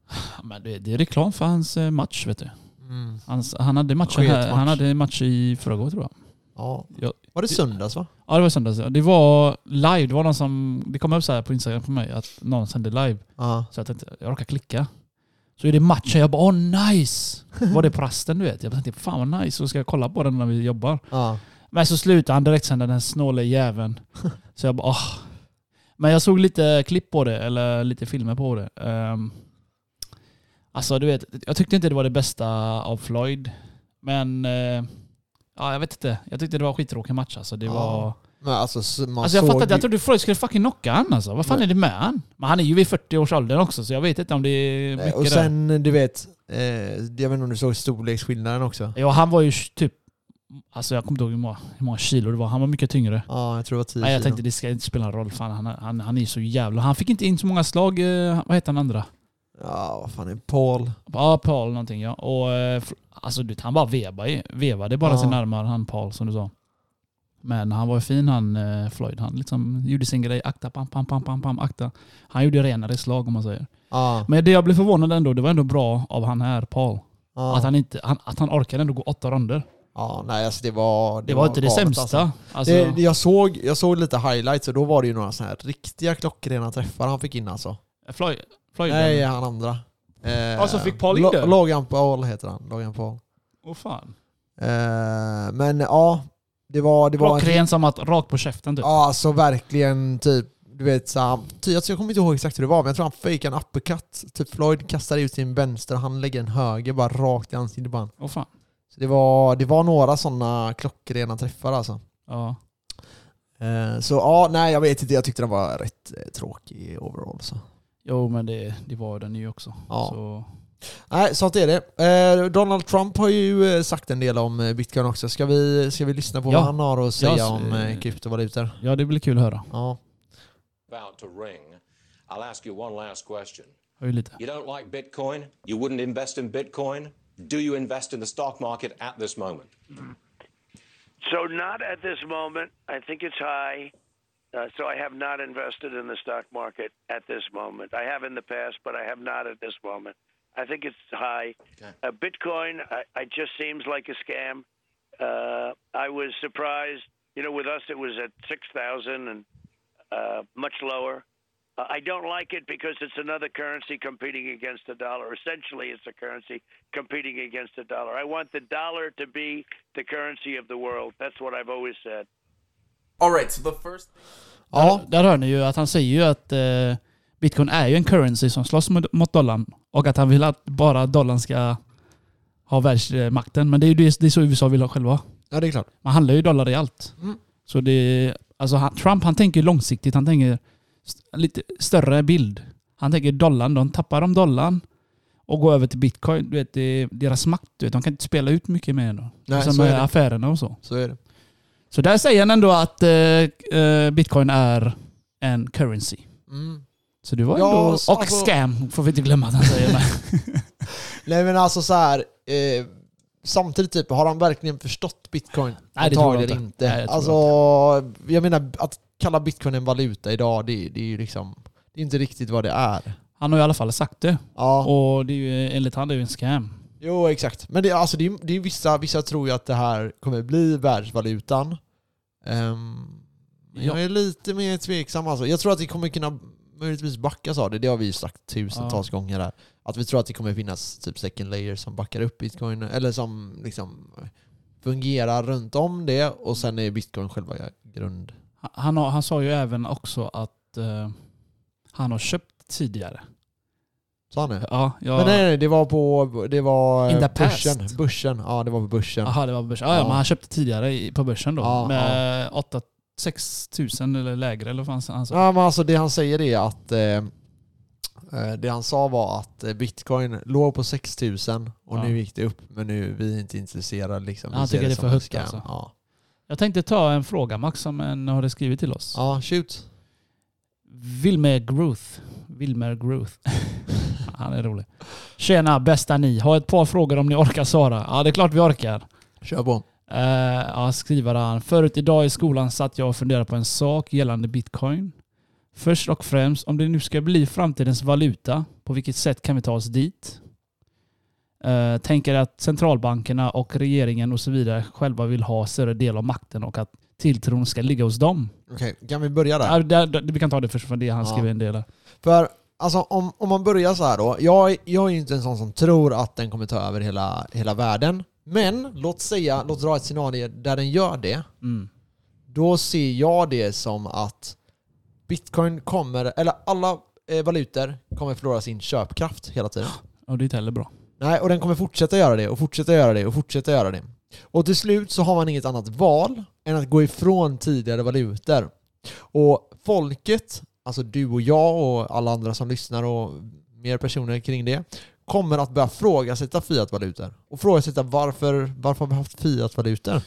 Ja, Men det, det är reklam för hans eh, match, vet du.
Mm.
Hans, han, hade matchen här,
Sketmatch.
han hade match i förrgår, tror jag.
Ja.
Ja.
Var det söndags va?
Ja, det var i söndags. ja. Det var live. Det var någon som... Det kom upp så här på Instagram på mig att någon sände live.
Ja.
Så jag tänkte, jag råkade klicka. Så är det matchen, jag bara åh nice! Var det på rasten du vet? Jag tänkte fan vad nice, så ska jag kolla på den när vi jobbar.
ja.
Men så slutar han direkt sen den här snåle jäveln. Så jag bara åh. Men jag såg lite klipp på det, eller lite filmer på det. Um, alltså du vet, jag tyckte inte det var det bästa av Floyd. Men eh, ja, jag vet inte. Jag tyckte det var en skittråkig match alltså. Det
Ja.
var...
Men alltså, s- man
Alltså jag
såg
fattar
ju-
inte. Jag trodde Floyd skulle fucking knocka han alltså. Vad fan
Nej.
är det med han? Men han är ju vid 40 års åldern också så jag vet inte om det är
Nej,
mycket
Och
där.
sen, du vet, eh, jag vet inte om du såg storleksskillnaden också?
Ja, han var ju typ... Alltså jag kommer inte ihåg hur många, hur många kilo det var. Han var mycket tyngre.
Ja, jag tror det var 10
Nej, jag
kilo.
tänkte det ska inte spela någon roll. Fan, han, han, han är ju så jävla... Han fick inte in så många slag. Eh, vad heter han andra?
Ja, vad fan är Paul?
Ja, Paul någonting ja. Och, eh, fr- alltså du vet, han bara vevade, ju- vevade bara
Ja.
sina armar, han Paul som du sa. Men han var ju fin han eh, Floyd. Han liksom gjorde sin grej. Akta, pam, pam, pam, pam, pam, akta. Han gjorde renare slag om man säger.
Ja,
Men det jag blev förvånad ändå, det var ändå bra av han här Paul.
ja.
Att, han inte, han, att han orkade ändå gå åtta ronder.
ja, nej alltså det var...
Det, var, inte det
galet,
sämsta.
alltså.
Alltså.
Det, det- jag, såg, jag såg lite highlights och då var det ju några sådana här riktiga klockrena träffar han fick in alltså.
Floyd, Floyd
Nej, han andra. Eh,
Alltså, fick Paul in
Lo-
det?
Logan Paul heter han. Logan Paul.
Åh fan.
Eh, men ja, det var... Det var en,
Klockren som att rakt på käften typ.
ja, alltså verkligen typ... Du vet så han, ty, alltså, jag kommer inte ihåg exakt hur det var, men jag tror han fejkade en uppercut. Typ Floyd kastar ut sin vänster, han lägger en höger bara rakt i ansiktet på han.
Åh fan.
Så det var, det var några sådana klockrena träffar alltså.
Ja.
Eh, så ja, nej jag vet inte. Jag tyckte den var rätt eh, tråkig overall. Så.
Jo men det, det var den ju också.
Ja.
Så,
Nej, sånt är det. Eh, Donald Trump har ju eh, sagt en del om eh, bitcoin också. Ska vi, ska vi lyssna på
Ja.
vad han har att säga
Ja, så-
om eh, kryptovalutor?
ja det blir kul att höra.
Ja.
about to ring, I'll ask you one last question.
Höj lite.
You don't like Bitcoin? You wouldn't invest in Bitcoin? Do you invest in the stock market at this moment?
So not at this moment. I think it's high. Uh, so I have not invested in the stock market at this moment. I have in the past, but I have not at this moment. I think it's high. Uh, Bitcoin, I, I just seems like a scam. Uh, I was surprised. You know, with us it was at six thousand and uh, much lower. Uh, I don't like it because it's another currency competing against the dollar. Essentially, it's a currency competing against the dollar. I want the dollar to be the currency of the world. That's what I've always said.
All right, so the first
Ja.
Där hör ni ju att han säger ju att eh, bitcoin är ju en currency som slåss mot, mot dollarn. Och att han vill att bara dollarn ska ha världsmakten. Men det är ju det, det är så USA vill ha själva.
ja, det är klart.
Man handlar ju dollar i allt.
Mm.
Så det, alltså han, Trump han tänker långsiktigt. Han tänker st- lite större bild. Han tänker dollarn, de tappar de dollarn och går över till bitcoin. Du vet, det är deras makt. Du vet, de kan inte spela ut mycket mer då.
Nej,
Som
så är
med
det.
affärerna och så.
Så är det.
Så där säger han ändå att eh, eh, bitcoin är en currency.
Mm.
Så det var
Ja, alltså-
ändå...
så-
och scam får vi inte glömma att han säger med.
Nej men alltså så här. Eh, samtidigt typ, har han verkligen förstått bitcoin?
Nej, det tror jag
Antagligen
inte. Nej, jag tror
alltså, jag menar att kalla bitcoin en valuta idag, det, det är ju liksom... Det är inte riktigt vad det är.
Han har i alla fall sagt det.
Ja.
Och det är ju, enligt han det är ju en scam.
Jo, exakt. Men det, alltså, det, är, det är vissa, vissa tror ju att det här kommer bli världsvalutan. Ehm, men
Ja.
Jag är lite mer tveksam alltså. Jag tror att det kommer kunna möjligtvis backas av det. Det har vi ju sagt tusentals gånger här. Att vi tror att det kommer finnas typ second layer som backar upp bitcoin, eller som liksom fungerar runt om det och sen är bitcoin själva grund.
Han- Han, har, han sa ju även också att eh, han har köpt tidigare.
Sa han det?
Ja,
Men
jag...
nej, nej, det var på det var
In the
börsen.
past.
Börsen. Ja, det var på börsen.
Aha, det var på börsen. Ja, ja,
Ja.
men han köpte tidigare i- på börsen då.
Ja,
med åtta 6 000 eller lägre eller vad fan sa han sa.
Ja, men alltså det han säger är att eh, eh, det han sa var att eh, bitcoin låg på 6000 och
Ja.
nu gick det upp men nu vi är inte intresserade. Liksom. Vi
Han
ser
tycker det är
som
för
en
högt,
scam.
alltså.
Ja.
Jag tänkte ta en fråga Max som en har skrivit till oss.
ja, shoot.
Wilmer Groth. Wilmer Groth. Han är rolig. Tjena bästa ni. Har ett par frågor om ni orkar svara. Ja det är klart vi orkar.
Kör på.
Uh, ja, skriver han. Förut idag i skolan satt jag och funderade på en sak gällande bitcoin. Först och främst, om det nu ska bli framtidens valuta, på vilket sätt kan vi ta oss dit? Eh, tänker att centralbankerna och regeringen och så vidare själva vill ha större del av makten och att tilltron ska ligga hos dem.
Okej, kan vi börja där?
Ja, där, där, vi kan ta det först, för det han
Ja.
skriver en del där.
För alltså, om, om man börjar så här då. Jag, är- jag är ju inte en sån som tror att den kommer ta över hela, hela världen. Men låt säga, låt dra ett scenario där den gör det.
Mm.
Då ser jag det som att Bitcoin kommer, eller alla eh, valutor kommer förlora sin köpkraft hela tiden.
Och det är inte heller bra.
Nej, och den kommer fortsätta göra det och fortsätta göra det och fortsätta göra det. Och till slut så har man inget annat val än att gå ifrån tidigare valutor. Och folket, alltså du och jag och alla andra som lyssnar och mer personer kring det, kommer att börja frågasätta fiatvalutor. Och frågasätta varför, varför har vi haft fiatvalutor?
Men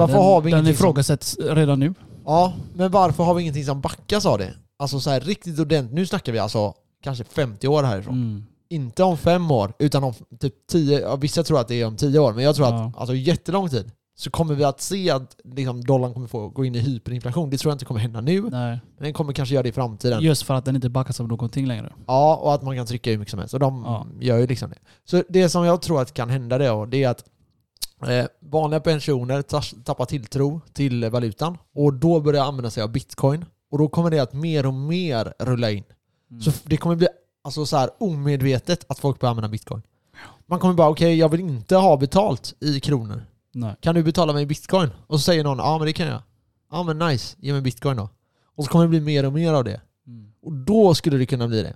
Varför
den,
har vi
Den
ingenting som-
ifrågasätts redan nu.
Ja, men varför har vi ingenting som backas av det? Alltså så här riktigt ordentligt, nu snackar vi alltså kanske 50 år härifrån.
Mm.
Inte om fem år, utan om typ 10, ja, vissa tror att det är om 10 år, men jag tror
Ja.
att alltså jättelång tid så kommer vi att se att liksom, dollarn kommer få gå in i hyperinflation. Det tror jag inte kommer hända nu,
Nej.
men den kommer kanske göra det i framtiden.
Just för att den inte backas av någonting längre.
Ja, och att man kan trycka hur mycket som helst. Och de
Ja.
gör ju liksom det. Så det som jag tror att kan hända då, det är att eh, vanliga pensioner tas- tappar tilltro till valutan och då börjar använda sig av bitcoin. Och då kommer det att mer och mer rulla in. Så f- det kommer bli alltså, så här, omedvetet att folk börjar använda bitcoin. Man kommer bara, okej jag vill inte ha betalt i kronor.
Nej.
Kan du betala mig i bitcoin? Och så säger någon, ja men det kan jag. Ja men nice, ge mig bitcoin då. Och så kommer det bli mer och mer av det. Och då skulle det kunna bli det.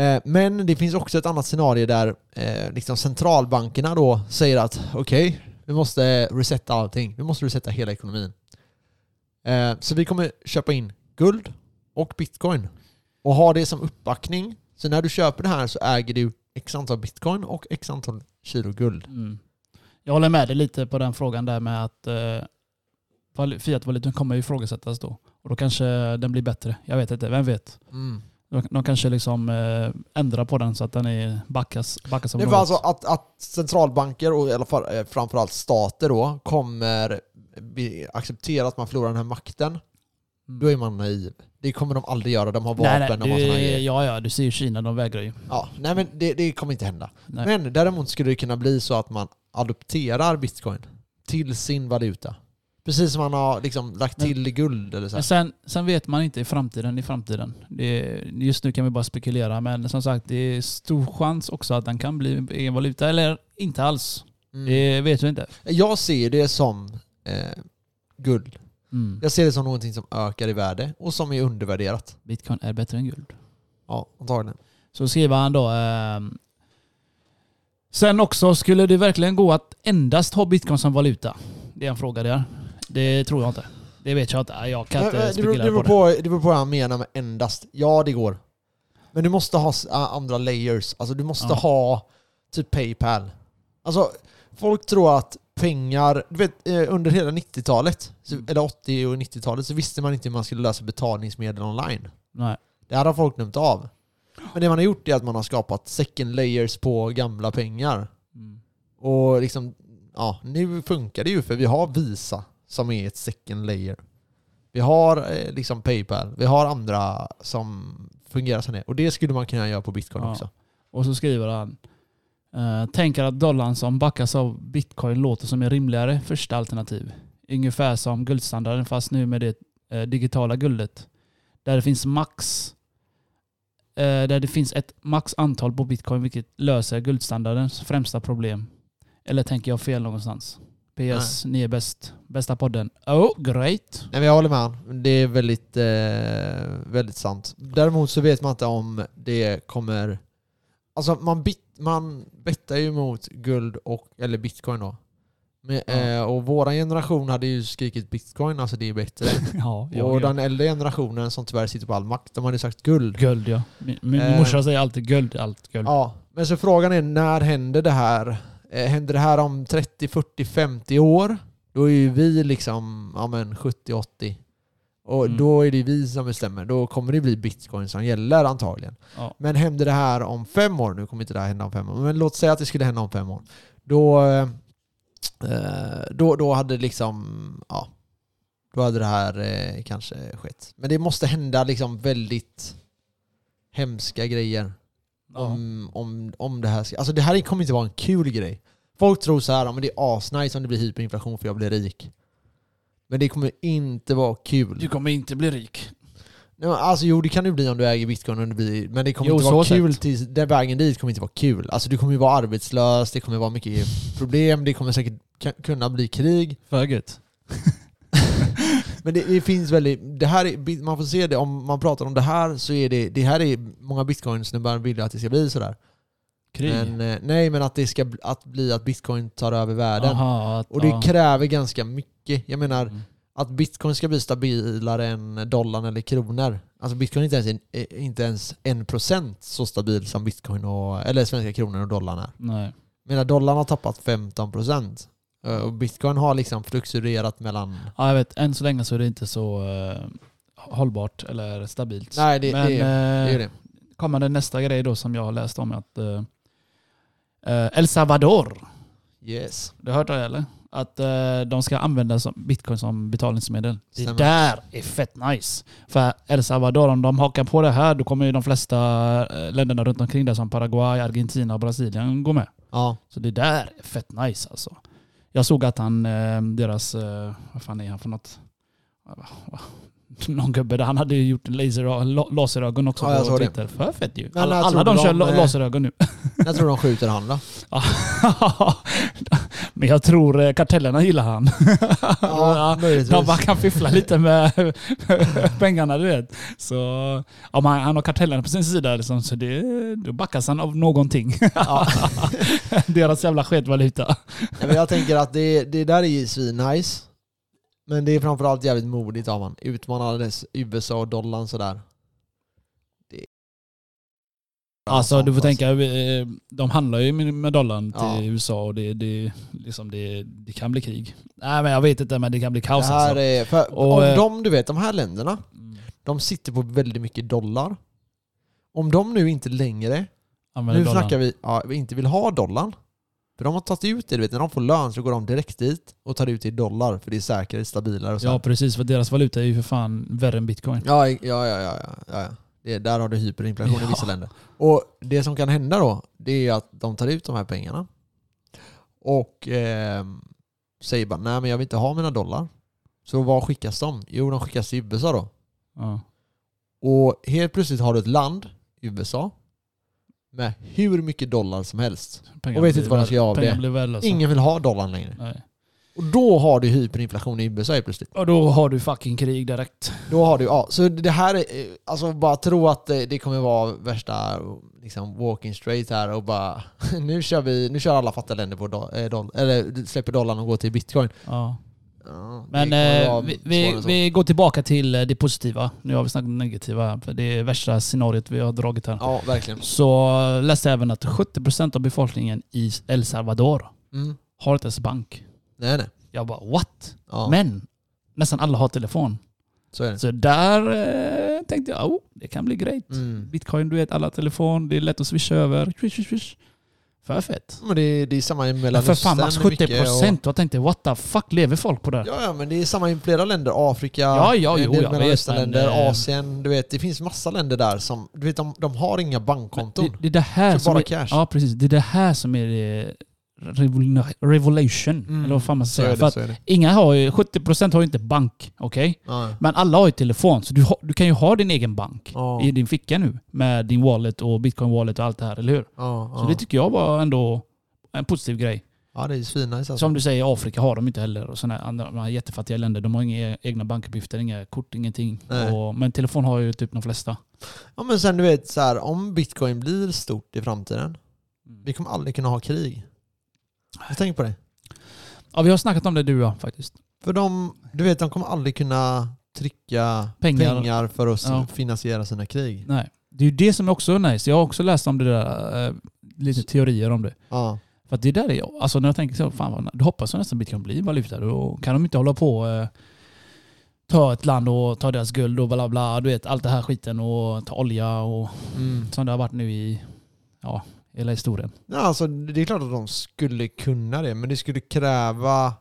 Eh, Men det finns också ett annat scenario där eh, liksom centralbankerna då säger att okej, vi måste resetta allting. Vi måste resetta hela ekonomin. Eh, Så vi kommer köpa in guld och bitcoin och ha det som uppbackning. Så när du köper det här så äger du x antal bitcoin och x antal kilo guld.
Mm. Jag håller med dig lite på den frågan där med att eh, val- fiatvalutan kommer ju ifrågasättas då. Och då kanske den blir bättre. Jag vet inte, vem vet? De, de kanske liksom eh, ändrar på den så att den är backas, backas av
Det
något.
var alltså att, att centralbanker och i alla fall, eh, framförallt stater då kommer be- acceptera att man förlorar den här makten. Då är man naiv. Det kommer de aldrig göra. De har vapen
Mm. nej,
och massa
nej, du,
grejer.
ja, ja, du ser ju Kina, de vägrar ju.
Ja, nej men det, det kommer inte hända.
Nej.
Men däremot skulle det kunna bli så att man adopterar bitcoin till sin valuta. Precis som man har liksom lagt
Men-
till guld eller så.
Men
Här.
sen, sen vet man inte i framtiden. I framtiden. Det, just nu kan vi bara spekulera, men som sagt, det är stor chans också att den kan bli egen valuta, eller inte alls.
Mm.
Det vet vi inte.
Jag ser det som eh, guld.
Mm.
Jag ser det som någonting som ökar i värde och som är undervärderat.
Bitcoin är bättre än guld.
Ja, antagligen.
Så skriver han då. ehm, Sen också, skulle det verkligen gå att endast ha bitcoin som valuta? Det är en fråga där. Det tror jag inte. Det vet jag inte. Jag kan
Men, men,
inte
Äh, det, beror, det,
spekulera
beror
på det.
på, det beror på vad han menar med endast. Ja, det går. Men du måste ha s- a- andra layers. Alltså du måste
Ja.
ha typ Paypal. Alltså folk tror att pengar... Du vet, eh, under hela 90-talet, så-
Mm.
eller 80 och 90-talet, så visste man inte hur man skulle lösa betalningsmedel online.
Nej.
Det här har folk glömt av. Men det man har gjort är att man har skapat second layers på gamla pengar. Och liksom, ja, nu funkar det ju för vi har Visa som är ett second layer. Vi har eh, liksom Paypal, vi har andra som fungerar som det. Och det skulle man kunna göra på Bitcoin
Ja.
också.
Och så skriver han. eh, Tänker att dollarn som backas av bitcoin låter som en rimligare första alternativ. Ungefär som guldstandarden fast nu med det eh, digitala guldet. Där det finns max eh, där det finns ett max antal på bitcoin vilket löser guldstandardens främsta problem. Eller tänker jag fel någonstans? PS, ni är bäst. Bästa podden. Oh, great.
Nej men jag håller med han. Det är väldigt, eh, väldigt sant. Däremot så vet man inte om det kommer... Alltså man, bit, man bettar ju mot guld och, eller bitcoin då. Men,
Ja.
eh, och våran generation hade ju skrikit bitcoin, alltså det är bättre.
Ja,
och den äldre generationen som tyvärr sitter på all makt, de hade ju sagt guld.
Guld ja. Min, min
Eh.
morsa säger alltid guld, allt guld.
Ja, men så frågan är när händer det här? Eh, händer det här om 30, 40, 50 år? Då är ju vi liksom ja, men 70, 80. Och
Mm.
då är det vi som bestämmer. Då kommer det bli bitcoin som gäller antagligen.
Ja.
Men händer det här om fem år? Nu kommer inte det här hända om fem år, men låt säga att det skulle hända om fem år. Då, eh, eh, då, då hade liksom, ja. Då hade det här eh, kanske skett. Men det måste hända liksom väldigt hemska grejer
Ja.
om, om, om det här ska... Alltså det här kommer inte vara en kul grej. Folk tror så här, "Ja, men det är asnice om det blir hyperinflation för jag blir rik. Men det kommer inte vara kul.
Du kommer inte bli rik.
Nej, men Alltså jo, det kan det bli om du äger bitcoin, och det blir, men det kommer
Jo,
inte vara
så
kul.
sett.
Tills, den vägen dit kommer inte vara kul. Alltså du kommer ju vara arbetslös, det kommer vara mycket problem, det kommer säkert ka- kunna bli krig.
För gött.
Men det, det finns väldigt... Det här är, bit- man får se det, om man pratar om det här så är det... Det här är... Många bitcoin-snubbar vill ju att det ska bli sådär.
Krig.
Men, eh, nej, men att det ska bli- att bli att bitcoin tar över världen.
Aha, att,
Och det
ja. Mm.
kräver ganska mycket. Jag menar, att bitcoin ska bli stabilare än dollarn eller kronor. Alltså bitcoin är inte ens, en, eh, inte ens 1% så stabil som bitcoin och, eller svenska kronor och dollarn är.
Nej.
Jag menar, dollarn har tappat 15%. eh, Och bitcoin har liksom fluxuerat mellan...
Ja, jag vet. Än så länge så är det inte så eh, hållbart eller stabilt.
Nej, det-
Men,
det Det är ju
eh,
det.
kommande nästa grej då som jag har läst om är att eh, eh, El Salvador,
Yes.
du har hört det eller? Att eh, de ska använda som bitcoin som betalningsmedel.
Stämmer.
Det där är fett nice. För El Salvador, om de hakar på det här då kommer ju de flesta eh, länderna runt omkring där som Paraguay, Argentina och Brasilien gå med.
Ja.
Så det där är fett nice alltså. Jag såg att han, eh, deras, eh, vad fan är han för något? Ah, Någon gubbe där, han hade ju gjort laser, la- laserögon också
Ja, jag
på
såg det.
Twitter. För fett ju.
Men
Alla,
jag
alla
trodde
de kör
de,
la-
eh,
laserögon nu.
När tror du de skjuter han då?
Men jag tror eh, kartellerna gillar han. Ja,
möjligtvis.
De bara kan fiffla lite med pengarna du vet. Så om han, han har kartellerna på sin sida liksom, så det, då backas han av någonting.
Ja.
Deras jävla sketvaluta.
Nej, men jag tänker att det, det där är ju svinnice. Men det är framförallt jävligt modigt av han. Utmanar dess USA och dollarn sådär. Det...
Alltså du får
Fast-
tänka, eh, de handlar ju med med dollarn till
Ja.
USA och det, det, liksom det, det kan bli krig. Nej men jag vet inte men det kan bli
Det
kaos
här
alltså.
är, för
Och,
om
eh, Mm.
de, du vet, de här länderna, de sitter på väldigt mycket dollar. Om de nu inte längre,
Använder
nu
dollarn.
snackar vi, ja, vi inte vill ha dollarn. För de har tagit ut det, du vet, när de får lön så går de direkt dit och tar ut det i dollar för det är säkrare, stabilare och så.
Ja precis, för deras valuta är ju för fan värre än bitcoin.
Ja, ja, ja. ja, ja, ja. Det, där har du hyperinflation i vissa
Ja.
länder. Och det som kan hända då, det är att de tar ut de här pengarna och ehm, säger bara nej men jag vill inte ha mina dollar. Så var skickas de? Jo, de skickas till USA då.
Ja.
Och helt plötsligt har du ett land, USA, med hur mycket dollar som helst.
Pengar
Och vet
blir
inte vad de
värd-
ska göra av
pengar
det.
Blir värdelösa.
Ingen vill ha dollarn längre.
Nej.
Och då har du hyperinflation i USA helt plötsligt.
Och då har du fucking krig direkt.
Då har du, ja. Så det här, är, eh, alltså bara tro att det, det kommer vara värsta liksom, walking straight här och bara nu kör vi, nu kör alla fattiga länder på do, eh, doll, eller släpper dollarn och går till bitcoin.
Ja.
Ja, det
Men
kommer
eh,
vara
vi,
svårare
vi,
än så.
vi går tillbaka till eh, det positiva. Nu har vi snackat om det negativa här, för det är värsta scenariot vi har dragit här.
Ja, verkligen.
Så läste jag även att 70% av befolkningen i El Salvador
Mm.
har inte ens bank.
Nej, nej.
Jag bara what?
Ja,
Men nästan alla har telefon.
så är det.
Så där eh, tänkte jag, oh, det kan bli grejt.
Mm.
Bitcoin, du vet, alla har telefon, det är lätt att swisha över. Swish, swish, swish. För fett.
Men det, är- det är samma i
Men för
Mellanöstern.
fan, max
mycket
70 procent. Jag tänkte, what the fuck, lever folk på det?
Och,
Ja,
ja, ja, men det är samma i flera länder. Afrika,
Ja, ja,
en
jo,
del
jag vet,
Mellanösternländer,
men, eh,
Asien. Du vet, det finns massa länder där som, du vet, de, de har inga bankkonton.
det, det är det här
Så
som
bara
är,
cash.
Ja, precis. Det är det här som är eh, revol- revolution. Eller vad fan man
Mm. Så
ska
är
säga.
det,
För att
så är det.
Inga har ju, 70% har ju inte bank, okej?
Ja.
Men alla har ju telefon, så du, har, du kan ju ha din egen bank
Ja.
i din ficka nu. Med din wallet och bitcoin wallet och allt det här, eller hur?
Ja,
Så
ja.
det tycker jag var ändå en positiv grej.
Ja, det är svinnice alltså.
Som du säger, i Afrika har de inte heller. Och såna här andra de här jättefattiga länder, de har inga e-, egna bankuppgifter, inga kort, ingenting.
Nej.
Och, men telefon har ju typ de flesta.
Ja men sen du vet så här, om bitcoin blir stort i framtiden,
Mm.
vi kommer aldrig kunna ha krig. Jag tänker på det.
Ja, vi har snackat om det du och jag faktiskt.
För de, du vet, de kommer aldrig kunna trycka
Pengar.
pengar, för att
Ja.
finansiera sina krig.
Nej. Det är ju det som är också nice. Jag har också läst om det där, eh, lite teorier om det.
Ja.
För att det där är jag. Alltså när jag tänker så, fan vad, då hoppas jag nästan bitcoin blir valuta. Då kan de inte hålla på och eh, ta ett land och ta deras guld och bla bla. Du vet allt det här skiten och ta olja och
Mm.
som det har varit nu i ja, hela historien.
Ja, alltså, det är klart att de skulle kunna det, men det skulle kräva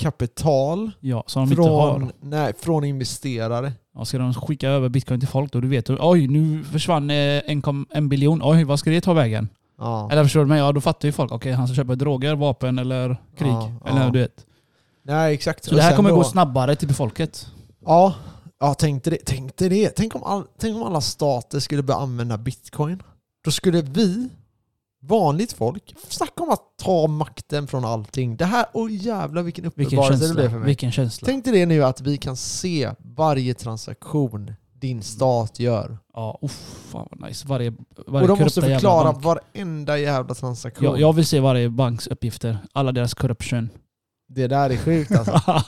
kapital
Ja, som de inte har.
från, nej, från investerare.
Ja, ska de skicka över bitcoin till folk då? Du vet, oj nu försvann eh, 1,1 biljon. Oj, vad ska det ta vägen?
Ja.
Eller förstår du mig? Ja, då fattar ju folk. Okej, han ska köpa droger, vapen eller krig.
Ja,
eller
ja.
du vet.
Nej, exakt.
Så
Och
det här
sen
kommer
då-
gå snabbare till folket.
Ja, ja tänkte det. Tänkte det. Tänk, om all, tänk om alla stater skulle börja använda bitcoin. Då skulle vi Vanligt folk, snacka om att ta makten från allting. Det här, åh jävlar vilken
Vilken
uppenbarelse det
känsla.
blev för mig.
Vilken känsla.
Tänk dig det nu att vi kan se varje transaktion din stat gör.
Ja, uff, fan vad nice. Varje,
Och
varje
de måste
korrupta jävla
förklara
bank.
varenda jävla transaktion.
Jag, jag vill se varje banks uppgifter. Alla deras corruption.
Det där är sjukt alltså.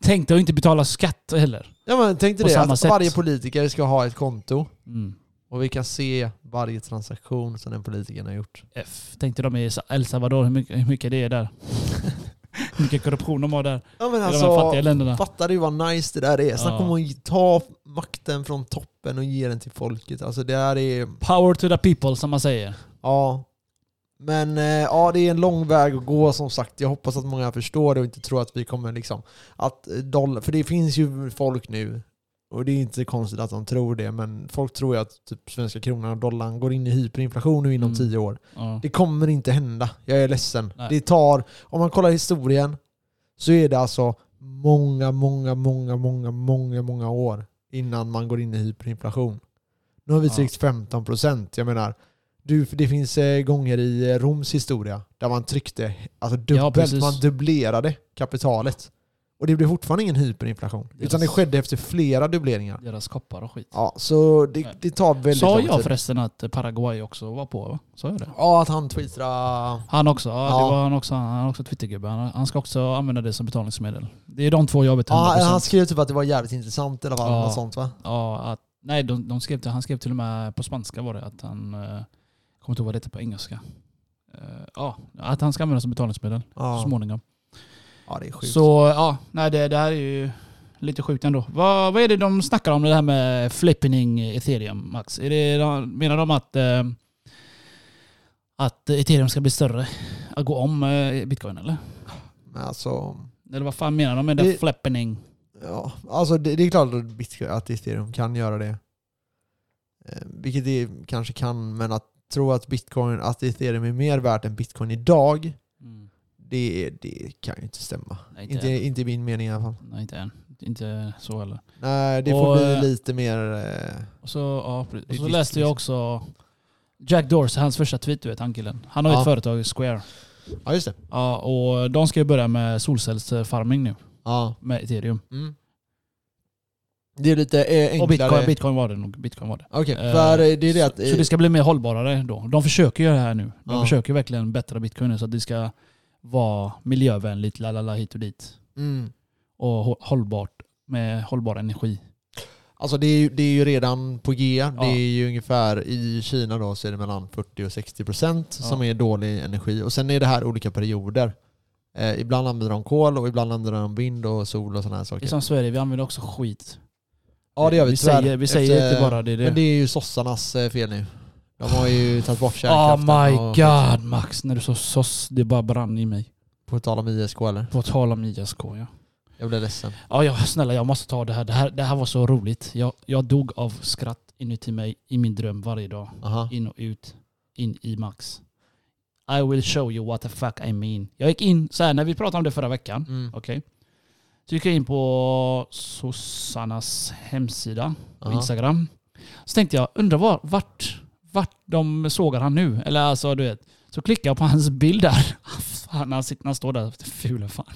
Tänk dig att inte betala skatt heller.
ja, men tänk dig
På
det,
samma
att
sätt.
varje politiker ska ha ett konto
Mm.
och vi kan se varje transaktion som den politikern har gjort.
F. Tänk dig de i El Salvador, hur mycket, hur mycket det är där. hur mycket korruption de har där.
Ja, men
I de här
alltså,
fattiga länderna.
fattar du vad nice det där är? Snacka
Ja.
om att ta makten från toppen och ge den till folket. Alltså det där är...
Power to the people, som man säger.
Ja. Men eh, ja, det är en lång väg att gå som sagt. Jag hoppas att många förstår det och inte tror att vi kommer liksom att eh, dollar... För det finns ju folk nu och det är inte konstigt att de tror det, men folk tror ju att typ svenska kronan och dollarn går in i hyperinflation nu inom
Mm.
tio år.
Ja.
Det kommer inte hända. Jag är ledsen.
Nej.
Det tar, om man kollar historien, så är det alltså många, många, många, många, många, många år innan man går in i hyperinflation. Nu har vi
Ja.
tryckt 15 procent. Jag menar, du, det finns eh, gånger i eh, Roms historia där man tryckte alltså dubbelt,
precis.
man dubblerade kapitalet. Och det blev fortfarande ingen hyperinflation. Utan det
Yes.
skedde efter flera dubbleringar.
Deras koppar och skit.
Ja, så det,
Nej.
det tar väldigt
Sa
lång
jag
tid.
förresten att Paraguay också var på? Va? Sa jag det?
Ja, att han tweetade...
Han också. Ja,
Ja.
Det var han också. Han är också Twittergubbe. Han, han ska också använda det som betalningsmedel. Det är de två jag vet 100%.
Ja, han skrev typ att det var jävligt intressant i alla fall.
Ja.
Något sånt va?
Ja, att, nej, de, de skrev till, han skrev till och med på spanska var det att han... Eh, jag kommer inte ihåg vad det heter på engelska. Eh, Ja, att han ska använda som betalningsmedel så
Ja,
småningom.
ja det är sjukt.
Så ja, nej det, det här är ju lite sjukt ändå. Vad, vad är det de snackar om det här med flipping ethereum, Max? Är det, de- menar de att, eh, att ethereum ska bli större? Att gå om eh, bitcoin eller?
Men alltså,
Eller vad fan menar de med det,
Det-
flipping?
ja. alltså det, det är klart att bitcoin, att ethereum kan göra det. Eh, vilket det kanske kan, men att tro att bitcoin, att ethereum är mer värt än bitcoin idag,
Mm.
det, det kan ju inte stämma.
Nej, inte,
Inte,
än.
inte i min mening i alla fall.
Nej, inte än. Inte så heller.
Nej, det får
Och,
bli
eh,
lite mer... Eh,
Och så, ja, precis. och
Det
så
är
läste jag
liksom-
också Jack Dorsey, hans första tweet du vet, han killen. Han har ju
Ja.
ett företag, Square.
ja, just det.
Ja, och de ska ju börja med solcellsfarming nu,
Ja.
med ethereum.
Mm. Det är lite eh, enklare...
Och bitcoin, bitcoin var det nog. Bitcoin var det.
Okej,
Eh,
för eh, det är det att...
Så det ska bli mer hållbarare då. De försöker göra det här nu. De
Ja.
försöker verkligen bättra bitcoin nu så att det ska vara miljövänligt, la la la hit och dit.
mm.
Och hå- hållbart, med hållbar energi.
Alltså det är, ju, det är ju redan på G.
Ja.
Det är ju ungefär i Kina då så är det mellan 40 och 60 procent som är dålig energi. Och sen är det här olika perioder. Eh, ibland använder de kol och ibland använder de vind och sol och sådana här
Det är
saker.
som Sverige, vi använder också skit.
Ja det gör vi,
Vi
tyvärr.
säger, vi säger
Efter-
inte bara det. är
Men
det.
det är ju sossarnas eh, fel nu. De har ju tagit bort
Oh
kärnkraften.
my
och-
god Max, när du sa soss, det bara brann i mig.
På tal om ISK eller?
På tal om ISK ja.
Jag blev ledsen.
Ja, ja snälla jag måste ta det här. Det här, det här var så roligt. Jag, jag dog av skratt inuti mig i min dröm varje dag.
Aha.
In och ut. In i Max. I will show you what the fuck I mean. Jag gick in så här när vi pratade om det förra veckan.
Mm.
Okej. Så gick jag in på sossarnas hemsida på
Aha.
Instagram. Så tänkte jag, undrar var, vart, vart de sågar han nu? Eller alltså du vet. Så klickar jag på hans bild där. Fan, han, sitter, han står där. Fula fan.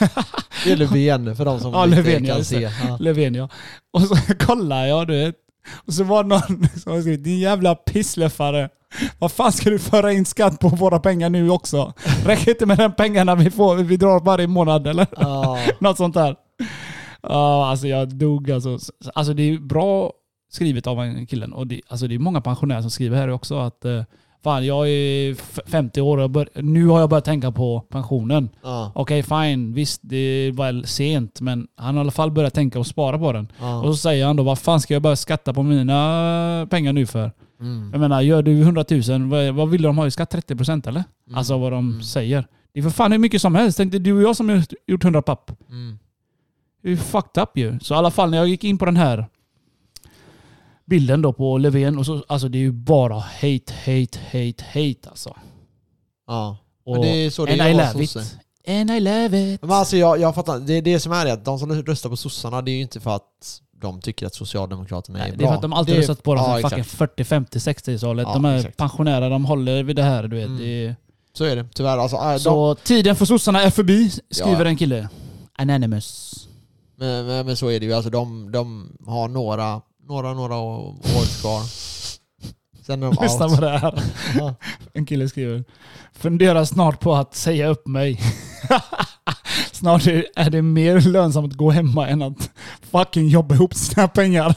Det är Löfven för de som
Ja,
inte
Löfven, ja,
kan
just det.
se. Ja.
Löfven ja. Och så kollar jag du vet. Och så var det någon som hade skrivit din jävla pisslöffare. Vad fan ska du föra in skatt på våra pengar nu också? Räcker inte med de pengarna vi får, vi drar varje månad eller?
Ja.
Något sånt där. Ja, alltså jag dog alltså. Alltså det är bra skrivet av en killen. Och det, alltså det är många pensionärer som skriver här också att eh, Fan, jag är f- 50 år och jag bör, nu har jag börjat tänka på pensionen.
Ja.
Okej, fine. Visst, det var väl sent, men han har i alla fall börjat tänka och spara på den.
Ja.
Och så säger han då, vad fan ska jag börja skatta på mina pengar nu för?
Mm.
Jag menar, gör du 100 000, vad, vad vill de ha i skatt? 30% eller?
Mm.
Alltså vad de säger. Det är för fan hur mycket som helst. Tänk dig, du och jag som har gjort- gjort 100 papp.
Mm.
Det är ju fucked up ju. Så i alla fall när jag gick in på den här bilden då på Löfven, och så, alltså det är ju bara hate, hate, hate, hate alltså.
Ja.
Och
Men det är så det
and
är
I
att vara
love
sosse.
it. And I love it.
alltså, Men alltså jag, jag fattar, det är det som är det att de som röstar på sossarna det är ju inte för att de tycker att Socialdemokraterna är bra.
Nej, det är för att de alltid
Det
har
är-
satt på dem
ja,
sedan
exakt.
fucking 40, 50, 60-talet.
Ja,
de här
exakt.
pensionärer, de håller vid det här du vet.
Mm.
Det är,
Så är det tyvärr. Alltså, äh, de,
så tiden för sossarna är förbi, skriver
Ja.
en kille. Anonymous.
men, men, men så är det ju. Alltså, de, de har några, några, några å- år kvar. Sen är de
Lyssna på
out.
det här.
Ja.
En kille skriver. Funderar snart på att säga upp mig. snart är- är det mer lönsamt att gå hemma än att fucking jobba ihop sina pengar.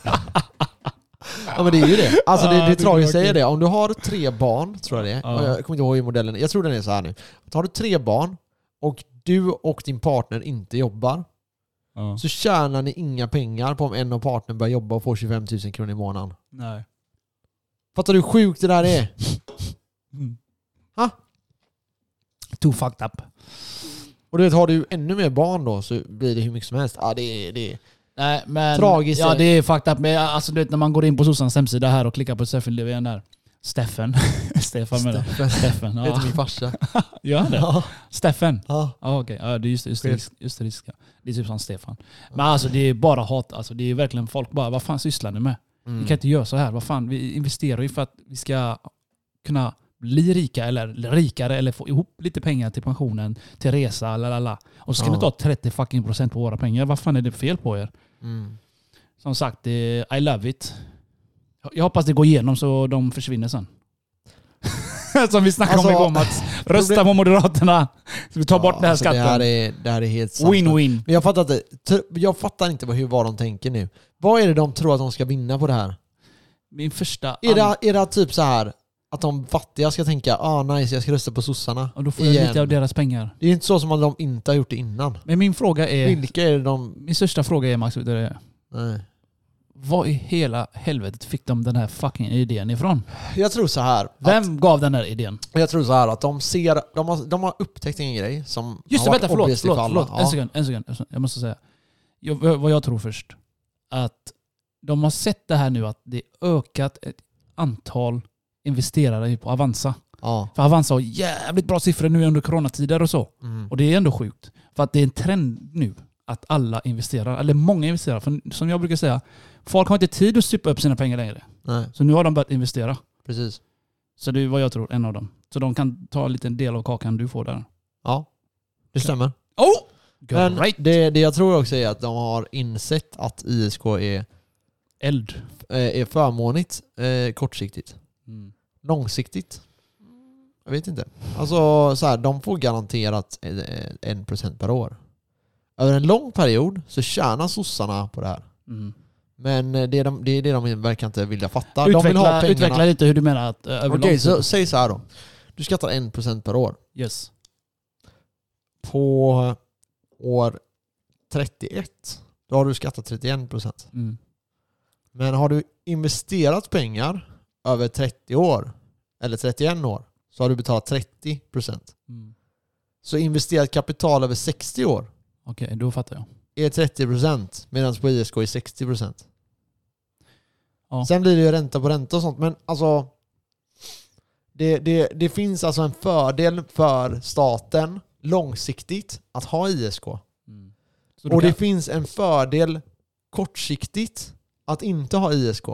Ja men det är ju det. Alltså det,
Ja,
det
det
är
är
tragiskt
tråkigt.
säger det. Om du har tre barn, tror jag det är.
Ja.
Och Jag kommer inte ihåg hur modellen är. Jag tror den är så här nu. Har du tre barn och du och din partner inte jobbar
Ja.
så tjänar ni inga pengar på om en av partnern börjar jobba och får 25 000 kronor i månaden.
Nej.
Fattar du hur sjukt det där är?
Mm. Too fucked up.
Och du vet, har du ännu mer barn då så blir det hur mycket som helst. Ja, det är... Det är
Nej, men,
Tragiskt är
Ja,
det.
det är fucked up. Men alltså, du vet, när man går in på sossarnas hemsida här och klickar på Steffen Löfven där. Steffen. Stefan menar jag. Steffen.
Det
Ja.
heter min farsa.
Gör han det?
Ja.
Steffen.
Ja.
Ja okej, ja, det är just österrisk, österrikiska. Det är typ som Stefan. Men alltså det är bara hat. Alltså, det är verkligen folk bara, vad fan sysslar ni med?
Mm.
Vi kan inte göra så här. Vad fan, vi investerar ju för att vi ska kunna bli rika eller rikare eller få ihop lite pengar till pensionen, till resa, la la la. Och så ska
Ja.
ni ta 30 fucking procent på våra pengar. Vad fan är det fel på er?
Mm.
Som sagt, eh, I love it. Jag hoppas det går igenom så de försvinner sen. som vi snackade om
Alltså,
igår Mats. Rösta på Moderaterna. Vi tar bort den här
alltså,
skatten.
Det här är, det här är helt sant.
Win-win.
Men jag fattar inte, tr- jag fattar inte vad, hur, vad de tänker nu. Vad är det de tror att de ska vinna på det här?
Min första...
Är det, är det typ så här att de fattiga ska tänka ah nice, jag ska rösta på sossarna
och då får jag
igen.
lite av deras pengar.
Det är inte så som att de inte har gjort det innan.
Men min fråga är...
Vilka är det de...
Min största fråga är Max, vet du det är?
Nej.
vad i hela helvetet fick de den här fucking idén ifrån?
Jag tror så här.
Vem gav den här idén?
Att, jag tror så här att de ser, de har, de har upptäckt en grej som
Just det,
har varit
vänta, förlåt.
obviously för
förlåt,
alla.
förlåt. En, sekund, en sekund, en sekund. Jag måste säga. Jag, vad vad jag tror först. Att de har sett det här nu att det ökat ett antal investerare på Avanza.
Ja.
För Avanza har jävligt bra siffror nu under coronatider och så.
ja. Mm.
Och det är ändå sjukt. För att det är en trend nu att alla investerar, eller många investerar. För som jag brukar säga, folk har inte tid att supa upp sina pengar längre.
Nej,
Så nu har de börjat investera.
precis.
Så det är vad jag tror, en av dem. Så de kan ta en liten del av kakan du får där.
Ja. Det stämmer.
Oh!
Men
Great.
det, det jag tror också är att de har insett att ISK är,
Eld.
är förmånligt eh, kortsiktigt.
Mm.
Långsiktigt? Jag vet inte. Alltså så här, de får garanterat eh, 1% per år. Över en lång period så tjänar sossarna på det här.
Mm.
Men eh, det är, de, det är det de verkar inte vilja fatta. de vill ha
Utveckla,
pengarna.
utveckla lite hur du menar att eh, överlag...
Okej, så säg så här då. Du skattar 1% per år.
Yes.
På år 31, då har du skattat 31%.
Mm.
Men har du investerat pengar över 30 år, eller 31 år, så har du betalat 30%.
Mm.
Så investerat kapital över 60 år
Okej, då fattar jag.
är 30% medan på ISK är 60%.
Ja.
Sen blir det ju ränta på ränta och sånt, men alltså det, det, det finns alltså en fördel för staten långsiktigt att ha ISK.
Mm. Så du
Och det
kan-
finns en fördel kortsiktigt att inte ha ISK.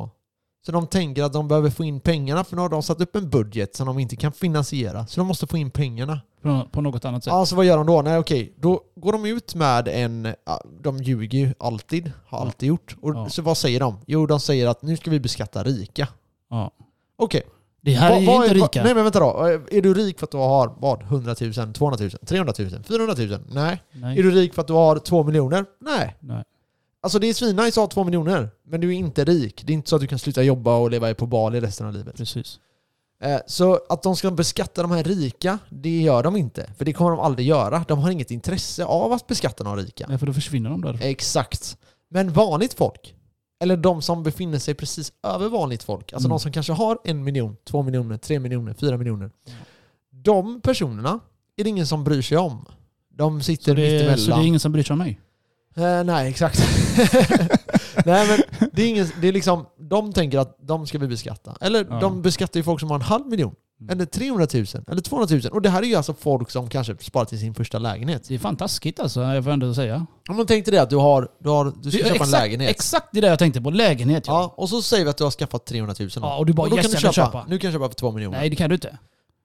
Så de tänker att de behöver få in pengarna för nu har de satt upp en budget som de inte kan finansiera. Så de måste få in pengarna.
på, på något annat sätt.
Ja, så vad gör de då? Nej, okej. Då går de ut med en... ja, De ljuger ju alltid. Har
Ja.
alltid gjort. Och
Ja.
Så vad säger de? Jo, de säger att nu ska vi beskatta rika.
Ja.
Okej.
Det här
Vad-
är ju
vad
inte
vad-
rika.
Nej, men vänta då. Är du rik för att du har vad? 100 000, 200 000, 300 000, 400 000? Nej.
Nej.
Är du rik för att du har 2 miljoner? Nej.
Nej.
Alltså det är svinnice att ha 2 miljoner, men du är inte rik. Det är inte så att du kan sluta jobba och leva på Bali resten av livet.
Precis.
Eh, Så att de ska beskatta de här rika, det gör de inte. För det kommer de aldrig göra. De har inget intresse av att beskatta de rika.
Nej, för då försvinner de därifrån.
Exakt. Men vanligt folk, eller de som befinner sig precis över vanligt folk, alltså
Mm.
de som kanske har en miljon, två miljoner, tre miljoner, fyra miljoner. De personerna är det ingen som bryr sig om. De sitter
Så det, är,
mittemellan.
så det är ingen som bryr sig om mig.
Eh, nej, exakt. nej, men det är, ingen, det är liksom, de tänker att de ska vi beskatta. Eller
Ja. Mm.
de beskattar ju folk som har en halv miljon. Eller 300 000. Eller 200 000. Och det här är ju alltså folk som kanske sparat till sin första lägenhet.
Det är fantastiskt alltså, jag får ändå säga.
Om man tänkte det att du har... Du, har, du ska
Det är
köpa
exakt,
en lägenhet.
Exakt det där jag tänkte på, lägenhet ja.
Ja, och så säger vi att du har skaffat 300 000.
Ja, och du bara,
då
yes,
kan du
jag vill
köpa,
köpa.
Nu kan du köpa för 2 miljoner.
Nej det kan du inte.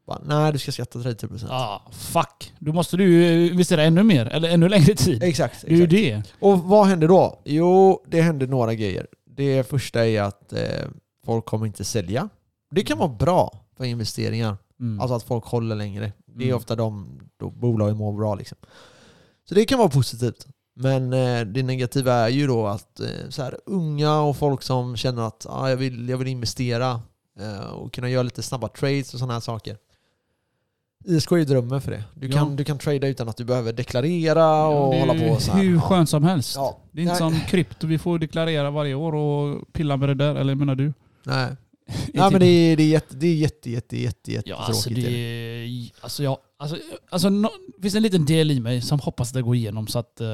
Bara, nej, du ska skatta 30 procent.
Ja, fuck. Då måste du ju investera ännu mer, eller ännu längre tid.
Exakt.
Det är ju
exakt.
det.
Och vad hände då? Jo, det hände några grejer. Det första är att eh, folk kommer inte sälja. Det kan vara bra för investeringar.
Mm.
Alltså att folk håller längre. Det är
Mm.
ofta de då bolagen mår bra. Liksom. Så det kan vara positivt. Men eh, det negativa är ju då att eh, så här, unga och folk som känner att ah, jag, vill, jag vill investera eh, och kunna göra lite snabba trades och sådana här saker. ISK är ju drömmen för det. Du
Ja.
kan, du kan trada utan att du behöver deklarera och
Det är
hålla på
ju
så här.
Hur skönt som helst.
Ja.
Det är inte
Nej.
som krypto, vi får deklarera varje år och pilla med det där. Eller menar du?
Nej. Nej men det är, det är jätte, det är jätte, jätte, jätte, jätte
typ- Ja,
tråkigt.
alltså det
är det.
är... Alltså jag... Alltså, alltså no, det finns en liten del i mig som hoppas att det går igenom så att eh,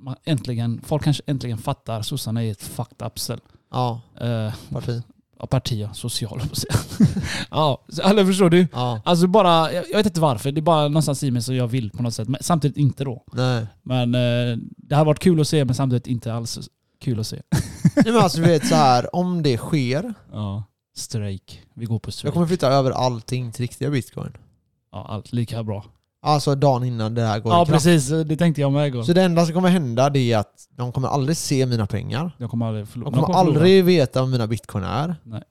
man äntligen, folk kanske äntligen fattar sossarna är ett fucked up cell.
Ja,
Eh,
parti.
ja, parti, ja. Social, höll jag på att säga. Ja, så alla förstår du?
Ja.
Alltså bara, jag, jag vet inte varför. Det är bara någonstans i mig som jag vill på något sätt. Men samtidigt inte då.
Nej.
Men eh, det hade varit kul att se, men samtidigt inte alls kul att se.
Nej men alltså du vet så här, om det sker.
Ja. Strejk. Vi går på
Jag
strejk.
kommer flytta över allting till riktiga bitcoin.
Ja, allt lika bra.
Alltså dagen innan det här går
Ja,
i kraft.
precis. Det tänkte jag med igår.
Så det enda som kommer hända det är att de kommer aldrig se mina pengar.
Jag kommer aldrig förlora.
De kommer, aldrig veta vad mina bitcoin är.
Nej.